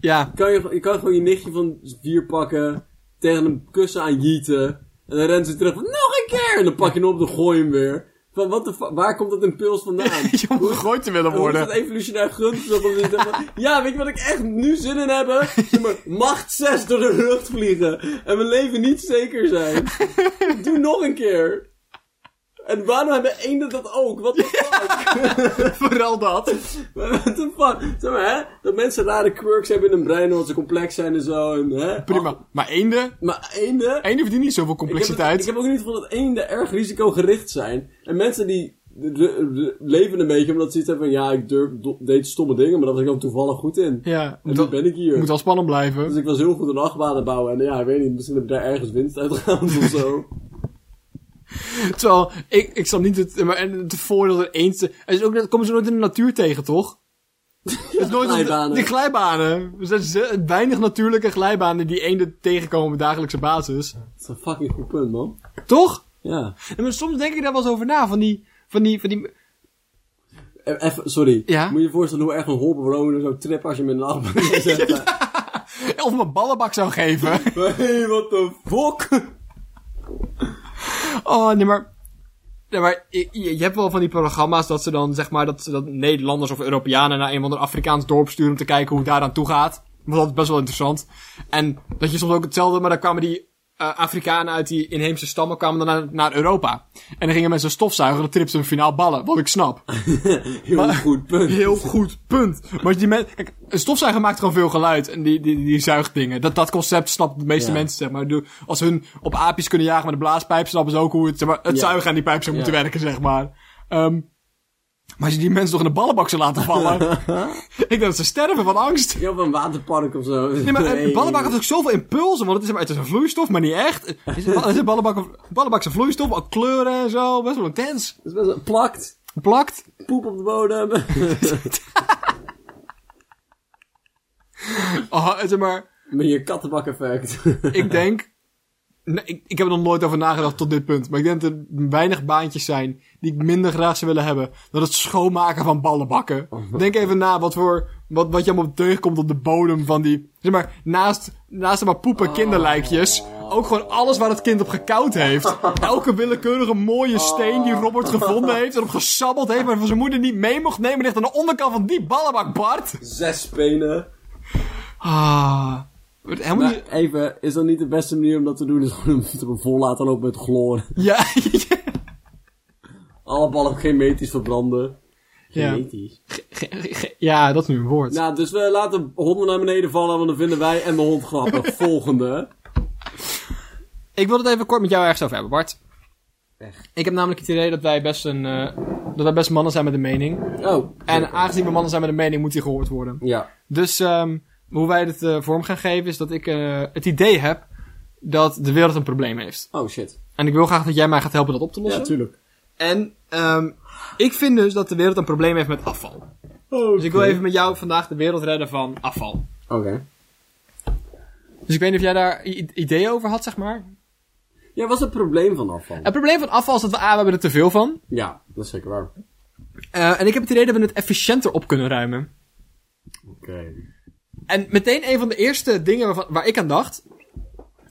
ja.
Kan je, je kan gewoon je nichtje van vier pakken, tegen een kussen aan jieten. En dan rent ze terug van, nog een keer! En dan pak je hem op, dan gooi je hem weer. Van, wat de fu- waar komt dat impuls vandaan?
Je om gegooid te willen
En hoe is
worden.
dat evolutionair gunstig om te zeggen van, ja, weet je wat ik echt nu zin in heb? hè? Zeg maar, macht 6 door de lucht vliegen. En mijn leven niet zeker zijn. Doe nog een keer. En waarom hebben eenden dat ook? Wat de fuck?
Vooral dat.
What the fuck? Zeg maar, hè? Dat mensen rare quirks hebben in hun brein, omdat ze complex zijn en zo. En, hè? Oh,
Prima. Maar eenden?
Maar eenden...
Eenden verdienen niet zoveel
Ik heb, het- ik
complexiteit.
heb ook niet van dat eenden erg risicogericht zijn. En mensen die de- de- de- leven een beetje omdat ze iets hebben van... Ja, ik durf, do- deed stomme dingen, maar daar was ik dan toevallig goed in.
Ja,
En
moet
nu
wel,
ben ik hier.
moet wel spannend
Dus
blijven.
ik was heel goed een achtbaan aan bouwen. En ja, ik weet niet, misschien heb ik daar ergens winst uit gehaald of zo.
Terwijl, ik, ik snap niet het, maar en het voordeel dat eenden... Er is ook, dat komen ze nooit in de natuur tegen, toch? Het is nooit
glijbanen.
De glijbanen. Er zijn ze- weinig natuurlijke glijbanen die eenden tegenkomen op dagelijkse basis.
Dat is een fucking goed punt, man.
Toch?
Ja.
En maar soms denk ik daar wel eens over na, van die... Van die, van die
E- Even, sorry.
Ja?
Moet je je voorstellen hoe erg een holpen wonen zou trippen als je met een achtbaan zou zetten?
of me een ballenbak zou geven.
Hé, hey, what the fuck?
Oh, nee, maar... Nee, maar je, je je hebt wel van die programma's dat ze dan, zeg maar, dat, ze dat Nederlanders of Europeanen naar een of ander Afrikaans dorp sturen om te kijken hoe het daar aan toe gaat. Want dat is best wel interessant. En dat je soms ook hetzelfde, maar dan kwamen die eh, Afrikanen uit die inheemse stammen kwamen dan naar, naar Europa. En dan gingen mensen stofzuigen en dan tripten ze een finaal ballen, wat ik snap.
Heel goed punt.
Heel goed, punt. Maar die men, kijk, een stofzuiger maakt gewoon veel geluid en die, die, die zuigt dingen. Dat, dat concept snapt de meeste
Ja.
mensen, zeg maar. Ik bedoel, Als hun op aapjes kunnen jagen met een blaaspijp, snappen ze ook hoe het, zeg maar, het
Ja.
zuigen aan die pijp zou moeten
Ja.
werken, zeg maar. Ehm, maar als je die mensen toch in de ballenbak zou laten vallen, ik denk dat ze sterven van angst.
Ja, op een waterpark of zo.
Nee, maar eh, een ballenbak heeft ook zoveel impulsen, want het is, zeg maar, het is een vloeistof, maar niet echt. Het is, het is een ballenbak, een ballenbak is een vloeistof, al kleuren en zo, best wel intens.
Het is best wel- plakt.
Plakt.
Poep op de bodem.
Oh, zeg maar,
Met je kattenbak effect.
ik denk. Nee, ik, ik heb er nog nooit over nagedacht tot dit punt. Maar ik denk dat er weinig baantjes zijn die ik minder graag zou willen hebben. Dan het schoonmaken van ballenbakken. Denk even na wat voor. Wat, wat je allemaal tegenkomt op de bodem van die. Zeg maar, naast, naast zeg maar poepen kinderlijkjes. Ook gewoon alles waar het kind op gekoud heeft. Elke willekeurige mooie steen die Robert gevonden heeft. Erop gesabbeld heeft. Maar van zijn moeder niet mee mocht nemen. Ligt aan de onderkant van die ballenbak, Bart.
Zes penen.
Ah. wordt Helemaal niet...
Maar even, is dat niet de beste manier om dat te doen? Is gewoon hem te vol laten lopen met chloor.
Ja.
Alle ballen genetisch verbranden.
Ja.
Genetisch.
Ge- ge- ge- ja, dat is nu een woord.
Nou, dus we laten honden naar beneden vallen, want dan vinden wij en de hond grappig. Volgende.
Ik wil het even kort met jou ergens over hebben, Bart.
Echt.
Ik heb namelijk het idee dat wij best een. eh, dat wij best mannen zijn met een mening.
Oh.
En aangezien we mannen zijn met een mening, moet die gehoord worden.
Ja.
Dus ehm, hoe wij dit eh, vorm gaan geven, is dat ik eh, het idee heb dat de wereld een probleem heeft.
Oh shit.
En ik wil graag dat jij mij gaat helpen dat op te lossen.
tuurlijk.
en ehm, ik vind dus dat de wereld een probleem heeft met afval.
Oh,
Dus ik wil even met jou vandaag de wereld redden van afval.
Oké.
Dus ik weet niet of jij daar i- ideeën over had, zeg maar.
Ja, wat is het probleem van afval?
Het probleem van afval is dat we, ah, we hebben er te veel van.
Ja, dat is zeker waar. Oké.
Eh, en ik heb het idee dat we het efficiënter op kunnen ruimen. Nou. En meteen een van de eerste dingen waarvan- waar ik aan dacht,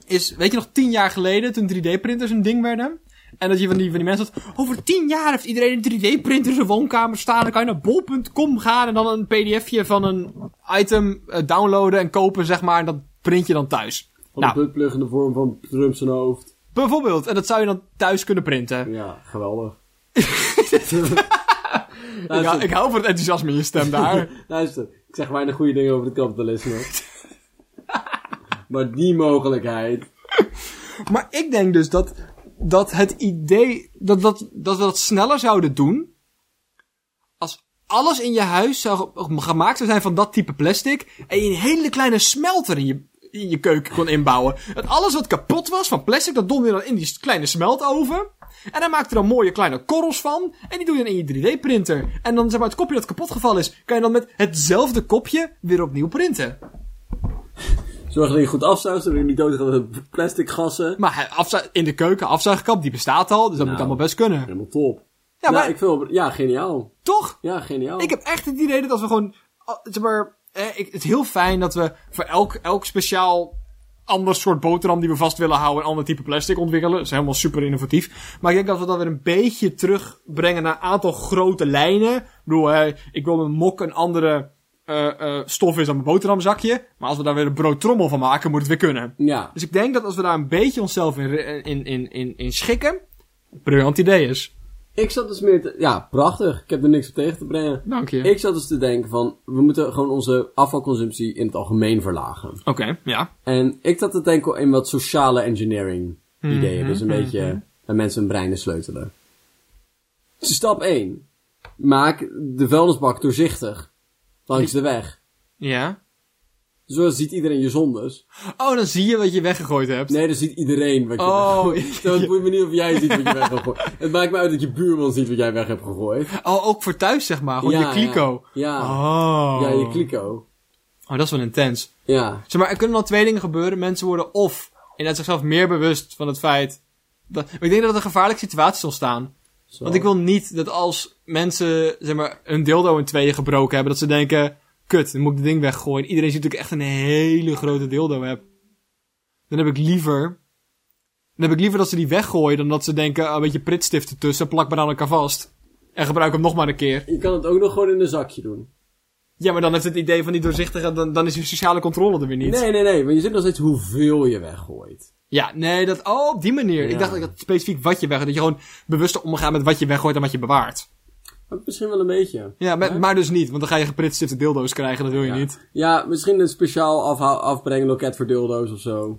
is, weet je nog, tien jaar geleden toen 3D-printers een ding werden? En dat je van die, van die mensen had, over tien jaar heeft iedereen een 3D-printer in zijn woonkamer staan, dan kan je naar bol.com gaan en dan een pdfje van een item eh, downloaden en kopen, zeg maar, en dat print je dan thuis.
Van
nou,
een buttplug in de vorm van Trump zijn hoofd.
bijvoorbeeld, en dat zou je dan thuis kunnen printen.
Ja, geweldig.
ik, hou-
luister,
ik hou van het enthousiasme in je stem daar.
luister, ik zeg weinig goede dingen over het kapitalisme. maar die mogelijkheid.
Maar ik denk dus dat, dat het idee dat, dat, dat we dat sneller zouden doen. Als alles in je huis zou, gemaakt zou zijn van dat type plastic. En je een hele kleine smelter in je, in je keuken kon inbouwen. Dat alles wat kapot was van plastic, dat donderde dan in die kleine smeltoven. En daar maakte dan mooie kleine korrels van. En die doe je dan in je 3D-printer. En dan zeg maar het kopje dat kapot gevallen is, kan je dan met hetzelfde kopje weer opnieuw printen.
Zorg dat je goed afzuigt, zodat je niet dood gaat met plastic gassen.
Maar hij- afzu- in de keuken, afzuigkap, die bestaat al. Dus dat moet allemaal best kunnen.
Helemaal top.
Ja,
Ja,
maar-
ik vind, ja geniaal.
Toch?
Ja, geniaal.
Ik heb echt het idee dat als we gewoon. ah, Zeg maar, eh, ik, het is heel fijn dat we voor elk, elk speciaal ander soort boterham die we vast willen houden, een ander type plastic ontwikkelen. Dat is helemaal super innovatief. Maar ik denk dat we dat weer een beetje terugbrengen naar een aantal grote lijnen. Ik bedoel, eh, ik wil mijn mok een andere eh, eh, stof is dan mijn boterhamzakje. Maar als we daar weer een broodtrommel van maken, moet het weer kunnen.
Ja,
Dus ik denk dat als we daar een beetje onszelf in, re- in, in, in, in schikken, briljant idee is.
ik zat dus meer te... Ja, prachtig. Ik heb er niks op tegen te brengen.
Dank je.
Ik zat dus te denken van, we moeten gewoon onze afvalconsumptie in het algemeen verlagen.
Oké, ja.
En ik zat te denken in wat sociale engineering
Mm-hmm.
ideeën. Dus een beetje aan mensen hun breinen sleutelen. Dus stap 1. Maak de vuilnisbak doorzichtig. Langs de weg.
Ja.
Zo ziet iedereen je zondes.
Oh, dan zie je wat je weggegooid hebt.
Nee, dan ziet iedereen wat je
Oh,
weggooit. Zo, Het boeit me niet of jij ziet wat je weg hebt gegooid. Het maakt me uit dat je buurman ziet wat jij weg hebt gegooid.
Oh, ook voor thuis, zeg maar. Gewoon
Ja,
je kliko.
Ja, ja.
Oh.
Ja, je kliko.
Oh, dat is wel intens.
Ja.
Zeg maar, er kunnen dan twee dingen gebeuren. Mensen worden of inderdaad zichzelf meer bewust van het feit... Dat, maar ik denk dat er een gevaarlijke situatie ontstaan.
Zo.
Want ik wil niet dat als mensen, zeg maar, hun dildo in tweeën gebroken hebben... Dat ze denken, kut, dan moet ik dit ding weggooien. Iedereen ziet dat ik echt een hele grote dildo heb. Dan heb ik liever Dan heb ik liever dat ze die weggooien dan dat ze denken, ah, een beetje pritstift ertussen, plak maar aan elkaar vast. En gebruik hem nog maar een keer.
Je kan het ook nog gewoon in een zakje doen.
Ja, maar dan heeft het idee van die doorzichtige, dan, dan is die sociale controle er weer niet.
Nee, nee, nee. Maar je ziet nog steeds hoeveel je weggooit.
Ja, nee, dat, oh, op die manier.
Ja.
Ik dacht dat ik dat specifiek wat je weggooit, dat je gewoon bewuster omgaat met wat je weggooit en wat je bewaart.
Ook misschien wel een beetje.
Ja, maar, maar dus niet, want dan ga je gepritste dildo's krijgen, dat wil je niet.
Ja, misschien een speciaal afha- afbrengen loket voor dildo's of zo.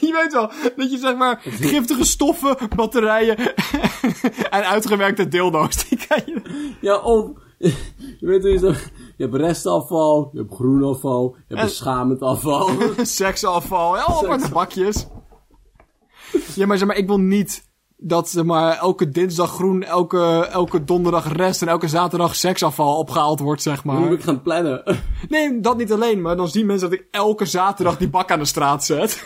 Je weet wel, dat je zeg maar giftige stoffen, batterijen en uitgewerkte dildo's, die kan je...
Ja, of... Je weet hoe je zo... Je hebt restafval, je hebt groen afval, je hebt
En-
beschamend afval.
Seksafval, helemaal aparte bakjes. Ja, maar zeg maar, ik wil niet dat zeg maar, elke dinsdag groen, elke, elke donderdag rest en elke zaterdag seksafval opgehaald wordt, zeg
Dan moet
maar.
ik gaan plannen.
Nee, dat niet alleen, maar dan zien mensen dat ik elke zaterdag die bak aan de straat zet.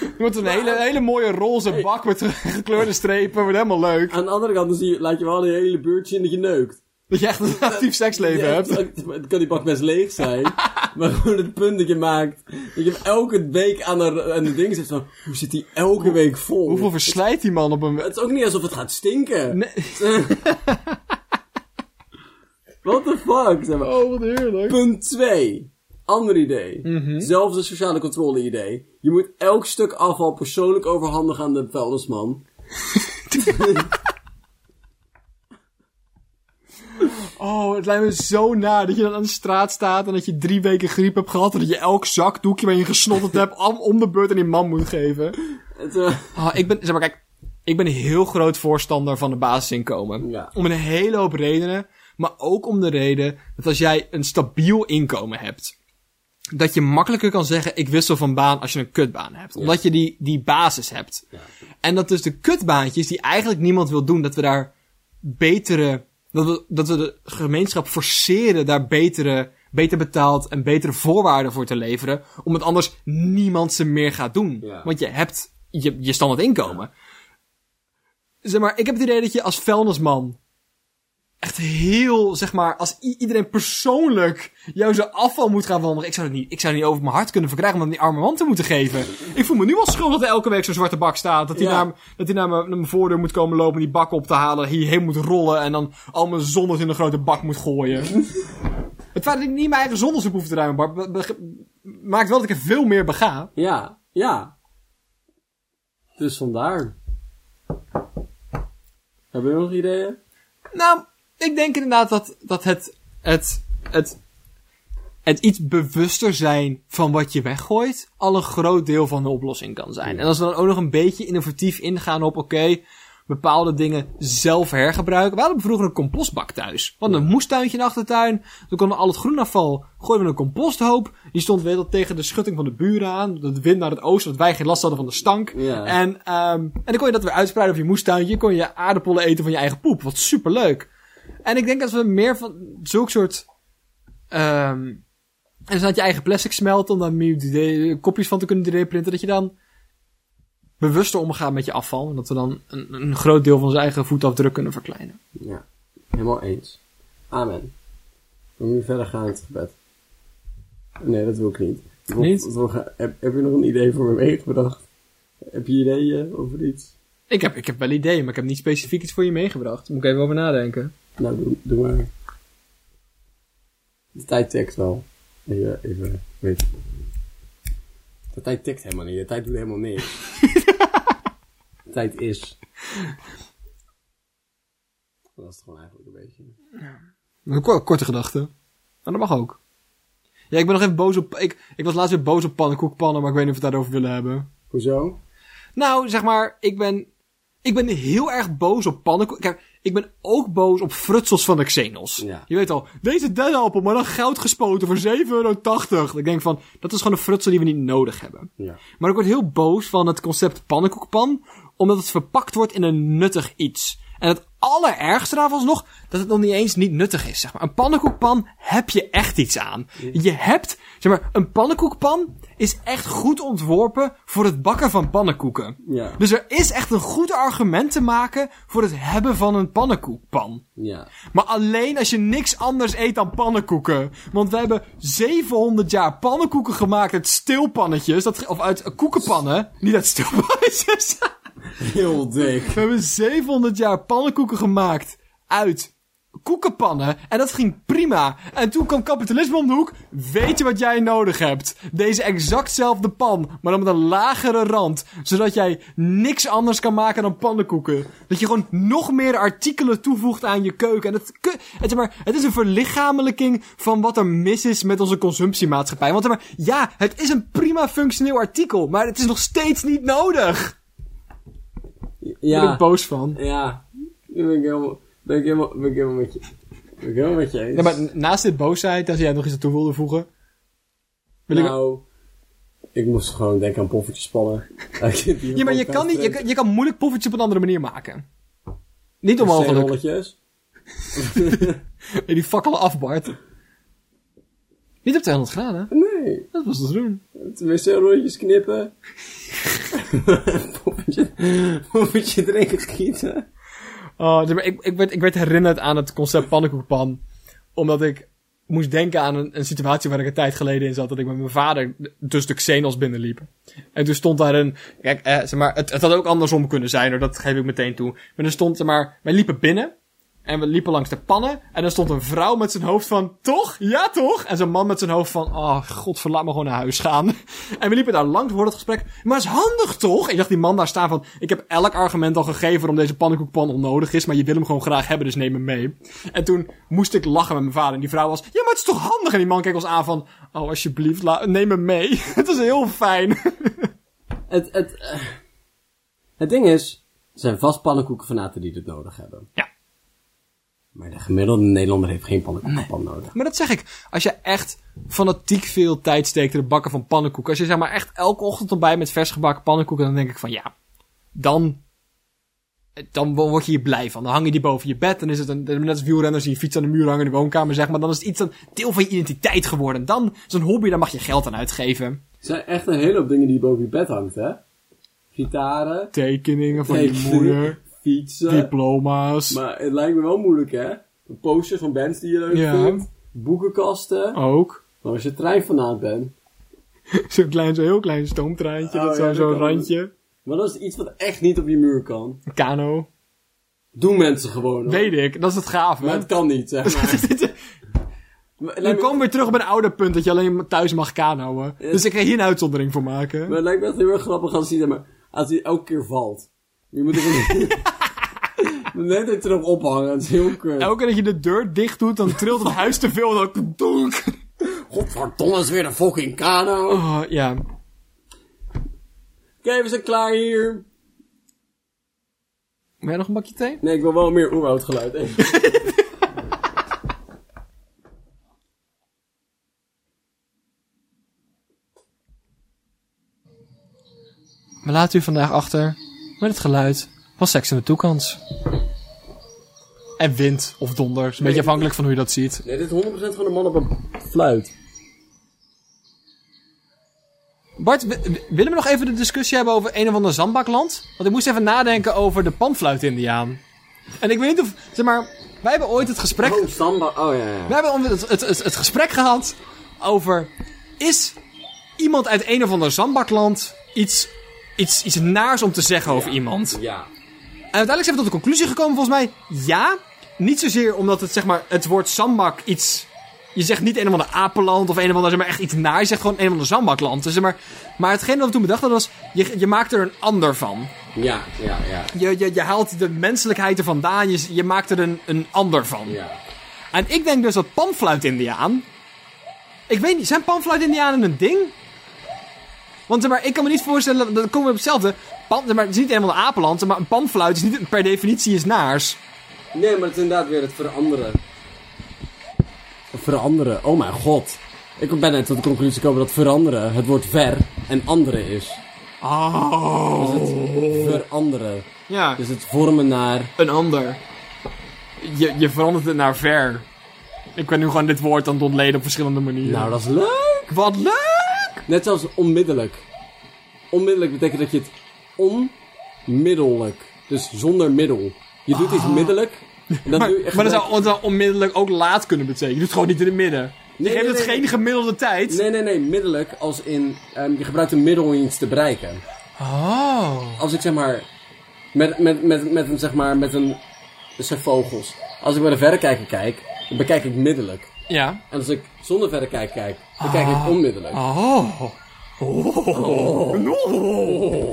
Je wordt een hele, hele mooie roze bak met gekleurde strepen, wordt helemaal leuk.
Aan de andere kant dan zie je, laat je wel een hele buurt zien dat je neukt.
Dat je echt een actief seksleven
Ja,
hebt.
het- Het kan die bak best leeg zijn. maar gewoon het punt dat je maakt. Dat je hem elke week aan de, aan de ding zit van... Hoe zit die elke week vol?
Hoeveel verslijt die man op een...
Het is ook niet alsof het gaat stinken.
Nee.
What the fuck? Zeg maar.
Oh, wat heerlijk.
Punt 2. Ander idee. Zelfde sociale controle idee. Je moet elk stuk afval persoonlijk overhandigen aan de vuilnisman.
Oh, het lijkt me zo na dat je dan aan de straat staat en dat je drie weken griep hebt gehad en dat je elk zakdoekje waar je gesnotterd hebt om, om de beurt aan die man moet geven.
Het, eh,
Ah, ik ben, zeg maar, kijk, ik ben een heel groot voorstander van de basisinkomen.
Ja.
Om een hele hoop redenen, maar ook om de reden dat als jij een stabiel inkomen hebt, dat je makkelijker kan zeggen, ik wissel van baan als je een kutbaan hebt. Omdat je die, die basis hebt. En dat dus de kutbaantjes, die eigenlijk niemand wil doen, dat we daar betere, dat we, dat we de gemeenschap forceren daar betere, beter betaald en betere voorwaarden voor te leveren. Omdat anders niemand ze meer gaat doen.
Ja.
Want je hebt je, je standaard inkomen. Zeg maar, ik heb het idee dat je als vuilnisman echt heel, zeg maar, als i- iedereen persoonlijk jou zijn afval moet gaan veranderen. Ik zou het niet, ik zou het niet over mijn hart kunnen verkrijgen om dat aan die arme man te moeten geven. Ik voel me nu al schuldig dat er elke week zo'n zwarte bak staat. Dat hij
Ja.
naar, m- dat hij naar, mijn, naar mijn voordeur moet komen lopen en die bak op te halen. Hierheen moet rollen en dan al mijn zondes in een grote bak moet gooien. het feit dat ik niet mijn eigen zondes op hoef te ruimen, Bart, be- be- maakt wel dat ik er veel meer bega.
ja, ja. Dus vandaar. Hebben jullie nog ideeën?
Nou, ik denk inderdaad dat, dat het, het, het, het iets bewuster zijn van wat je weggooit al een groot deel van de oplossing kan zijn. En als we dan ook nog een beetje innovatief ingaan op, oké, bepaalde dingen zelf hergebruiken. We hadden vroeger een compostbak thuis. We hadden een moestuintje in de achtertuin. Dan konden al het groenafval gooien we in een composthoop. Die stond weer tot tegen de schutting van de buren aan. De wind naar het oosten, dat wij geen last hadden van de stank.
Ja.
En, ehm, en dan kon je dat weer uitspreiden over je moestuintje. Kon je aardappelen eten van je eigen poep. Wat superleuk. En ik denk dat we meer van zulk soort... ehm, en dus dat je eigen plastic smelt om daar meer d- kopjes van te kunnen 3D-printen. Dat je dan bewuster omgaat met je afval. En dat we dan een, een groot deel van onze eigen voetafdruk kunnen verkleinen.
Ja, helemaal eens. Amen. We nu verder gaan in het gebed. Nee, dat wil ik niet. Ik wil-
Niet?
ik wil gaan- heb, heb je nog een idee voor me meegebracht? Heb je ideeën over iets?
Ik heb, ik heb wel ideeën, maar ik heb niet specifiek iets voor je meegebracht. Moet ik even over nadenken.
Nou, doe, doe maar. De tijd tikt wel. Even, even, weet. De tijd tikt helemaal niet. De tijd doet helemaal niks. de tijd is. Dat is het gewoon eigenlijk een beetje.
Een ko- korte gedachte. Maar dat mag ook. Ja, ik ben nog even boos op... Ik, ik was laatst weer boos op pannenkoekpannen, maar ik weet niet of we het daarover willen hebben.
Hoezo?
Nou, zeg maar, ik ben, ik ben heel erg boos op pannenkoek. Kijk, ik ben ook boos op frutsels van de Xenos.
Ja.
Je weet al, deze dennenappel, maar dan goud gespoten voor 7,80 euro. Ik denk van, dat is gewoon een frutsel die we niet nodig hebben.
Ja.
Maar ik word heel boos van het concept pannenkoekpan, omdat het verpakt wordt in een nuttig iets. En het allerergste daarvan is nog dat het nog niet eens niet nuttig is. Zeg maar. Een pannenkoekpan heb je echt iets aan. Je hebt, zeg maar, een pannenkoekpan is echt goed ontworpen voor het bakken van pannenkoeken.
Ja.
Dus er is echt een goed argument te maken voor het hebben van een pannenkoekpan.
Ja.
Maar alleen als je niks anders eet dan pannenkoeken. Want we hebben 700 jaar pannenkoeken gemaakt uit stilpannetjes. Dat, ge- of uit eh, koekenpannen. Niet uit stilpannetjes.
Heel dik.
We hebben 700 jaar pannenkoeken gemaakt uit koekenpannen. En dat ging prima. En toen kwam kapitalisme om de hoek. Weet je wat jij nodig hebt? Deze exactzelfde pan, maar dan met een lagere rand. Zodat jij niks anders kan maken dan pannenkoeken. Dat je gewoon nog meer artikelen toevoegt aan je keuken. En het, ke- het, zeg maar, het is een verlichamelijking van wat er mis is met onze consumptiemaatschappij. Want zeg maar, ja, het is een prima functioneel artikel. Maar het is nog steeds niet nodig. Daar ben ik
Ja.
boos van.
Ja. Daar ben ik helemaal, ben ik helemaal, ben ik helemaal met je. Ben ik helemaal met je eens.
Ja, maar naast dit boosheid, als jij nog iets aan toe wilde voegen. Wil ik-
nou, ik moest gewoon denken aan poffertjes spannen.
ja, maar je kan, niet, je, kan- je kan moeilijk poffertjes op een andere manier maken. Niet om ongeluk.
rolletjes.
Nee, die fakkelen af, Bart. Niet op 200 graden.
Nee,
Dat was te doen.
tenminste rolletjes knippen. poffertje, poffertje erin schieten.
Oh, zeg maar, ik, ik, werd, ik werd herinnerd aan het concept pannenkoekpan. Omdat ik moest denken aan een, een situatie waar ik een tijd geleden in zat. Dat ik met mijn vader tussen de Xenos binnenliep. En toen stond daar een... Kijk, eh, zeg maar, het, het had ook andersom kunnen zijn hoor. Dat geef ik meteen toe. Maar er stond zeg maar... Wij liepen binnen. En we liepen langs de pannen. En er stond een vrouw met zijn hoofd van... Toch? Ja, toch? En zo'n man met zijn hoofd van... Oh, god, verlaat me gewoon naar huis gaan. En we liepen daar langs voor het gesprek. Maar is handig, toch? Ik dacht die man daar staan van... Ik heb elk argument al gegeven waarom deze pannenkoekpan onnodig is. Maar je wil hem gewoon graag hebben, dus neem hem mee. En toen moest ik lachen met mijn vader. En die vrouw was... Ja, maar het is toch handig? En die man keek ons aan van... Oh, alsjeblieft, la- neem hem mee. het is heel fijn.
Het, het, eh, het ding is, er zijn vast pannenkoekenfanaten die dit nodig hebben.
Ja.
Maar de gemiddelde Nederlander heeft geen pannenkoekenpan nodig.
Maar dat zeg ik. Als je echt fanatiek veel tijd steekt in het bakken van pannenkoeken. Als je zeg maar echt elke ochtend ontbijt met vers gebakken pannenkoeken. Dan denk ik van ja, dan, dan word je hier blij van. Dan hang je die boven je bed. Dan is het een, net als wielrenners die je fiets aan de muur hangen in de woonkamer zeg maar. Dan is het iets een deel van je identiteit geworden. Dan is een hobby, daar mag je geld aan uitgeven.
Er zijn echt een hele hoop dingen die boven je bed hangt, hè? Gitaren,
Tekeningen van je
tekenen,
moeder.
fietsen.
Diploma's.
Maar het lijkt me wel moeilijk, hè? Posters van bands die je leuk
Ja.
vindt. Boekenkasten.
Ook.
Maar als je treinfanaat bent.
Zo'n klein, zo'n heel klein stoomtreintje.
Oh,
dat
ja,
zou
dat
zo'n
kan.
randje.
Maar dat is iets wat echt niet op je muur kan.
Een kano.
Doen mensen gewoon. hoor.
Weet ik. Dat is het gave.
Maar het kan niet, zeg maar. maar, het
Dan
lijkt me,
komen we weer terug op een oude punt dat je alleen thuis mag kanoën. Dus ik ga hier een uitzondering voor maken.
maar het lijkt me echt heel erg grappig als hij, zeg maar, als hij elke keer valt. Je moet er net even erop ophangen. Het is heel kut.
Elke keer dat je de deur dicht doet, dan trilt het huis te veel. en Dan donk.
Godverdomme, is weer een fucking kano.
Oh, ja.
Kijk, we zijn klaar hier.
Wil jij nog een bakje thee?
Nee, ik wil wel meer oerwoudgeluid. hè.
We laten u vandaag achter met het geluid van seks in de toekomst. En wind of donder. Is een beetje afhankelijk van hoe je dat ziet.
Nee, dit is 100% van een man op een fluit.
Bart, wi- wi- willen we nog even de discussie hebben over een of ander zandbakland? Want ik moest even nadenken over de panfluit-indiaan. En ik weet niet of... Zeg maar, wij hebben ooit het gesprek...
Oh, samba. Oh, ja, ja.
We hebben onder het, het, het, het gesprek gehad over... Is iemand uit een of ander zandbakland iets, iets, iets naars om te zeggen over iemand?
Ja.
En uiteindelijk zijn we tot de conclusie gekomen, volgens mij, ja. Niet zozeer omdat het, zeg maar, het woord zandbak iets... Je zegt niet een of ander apenland of een of ander, zeg maar, echt iets naar. Je zegt gewoon een of ander zandbakland. Dus zeg maar, maar hetgeen dat we toen bedacht hadden was, je, je maakt er een ander van.
Ja, ja, ja.
Je, je, je haalt de menselijkheid er vandaan, je, je maakt er een, een ander van.
Ja.
En ik denk dus dat panfluit-indiaan... Ik weet niet, zijn panfluit-indianen een ding? Want zeg maar, ik kan me niet voorstellen, dan komen we op hetzelfde. Pan, zeg maar, het is niet helemaal een apenland, maar een panfluit is niet per definitie is naars.
Nee, maar het is inderdaad weer het veranderen. Veranderen, oh mijn god. Ik ben net tot de conclusie gekomen dat veranderen het woord ver en andere is.
Oh.
Veranderen.
Ja,
Dus het vormen naar...
een ander. Je, je verandert het naar ver. Ik ben nu gewoon dit woord aan het ontleden op verschillende manieren.
Nou, dat is leuk!
Wat leuk!
Net zoals onmiddellijk. Onmiddellijk betekent dat je het onmiddellijk. Dus zonder middel. Je doet iets middelijk. En dan
Ah. Maar,
doe je
maar dat,
gelijk-
zou, dat zou onmiddellijk ook laat kunnen betekenen. Je doet het gewoon niet in het midden. Je
Nee,
geeft
nee,
het
nee,
geen
nee.
gemiddelde tijd.
Nee, nee, nee. Middelijk als in... ehm, je gebruikt een middel om iets te bereiken.
Oh.
Als ik zeg maar... Met, met, met, met een, zeg maar, met een... Dat zijn vogels. Als ik met een verrekijker kijk, dan bekijk ik middelijk.
Ja.
En als ik zonder verrekijker kijk, dan kijk
Ah.
ik onmiddellijk.
Oh.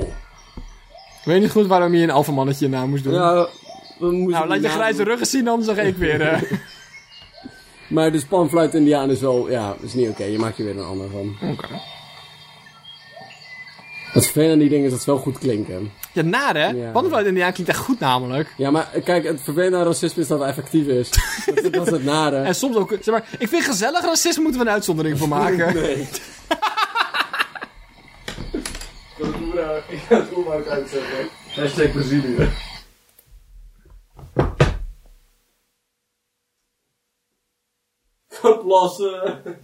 Ik weet niet goed waarom je een alfamannetje na moest doen.
Ja, we moesten
nou, laat je
die
grijze
naam-
rug eens zien, anders zeg ik weer. eh.
Maar de spanfluit Indiaan is wel, ja, is niet oké. Je maakt er weer een ander van.
Oké.
Het vervelende aan die dingen is dat ze wel goed klinken.
Ja, naar hè?
Ja.
Pandenfluit Indiaan klinkt echt goed namelijk.
Ja, maar eh, kijk, het vervelende aan racisme is dat het effectief is. dat, is- dat is het nare.
En soms ook, zeg maar, ik vind gezellig racisme moeten we een uitzondering voor maken.
Nee.
Ik ga het gewoon maar uit uitzetten. Hashtag Brazilië. Plassen.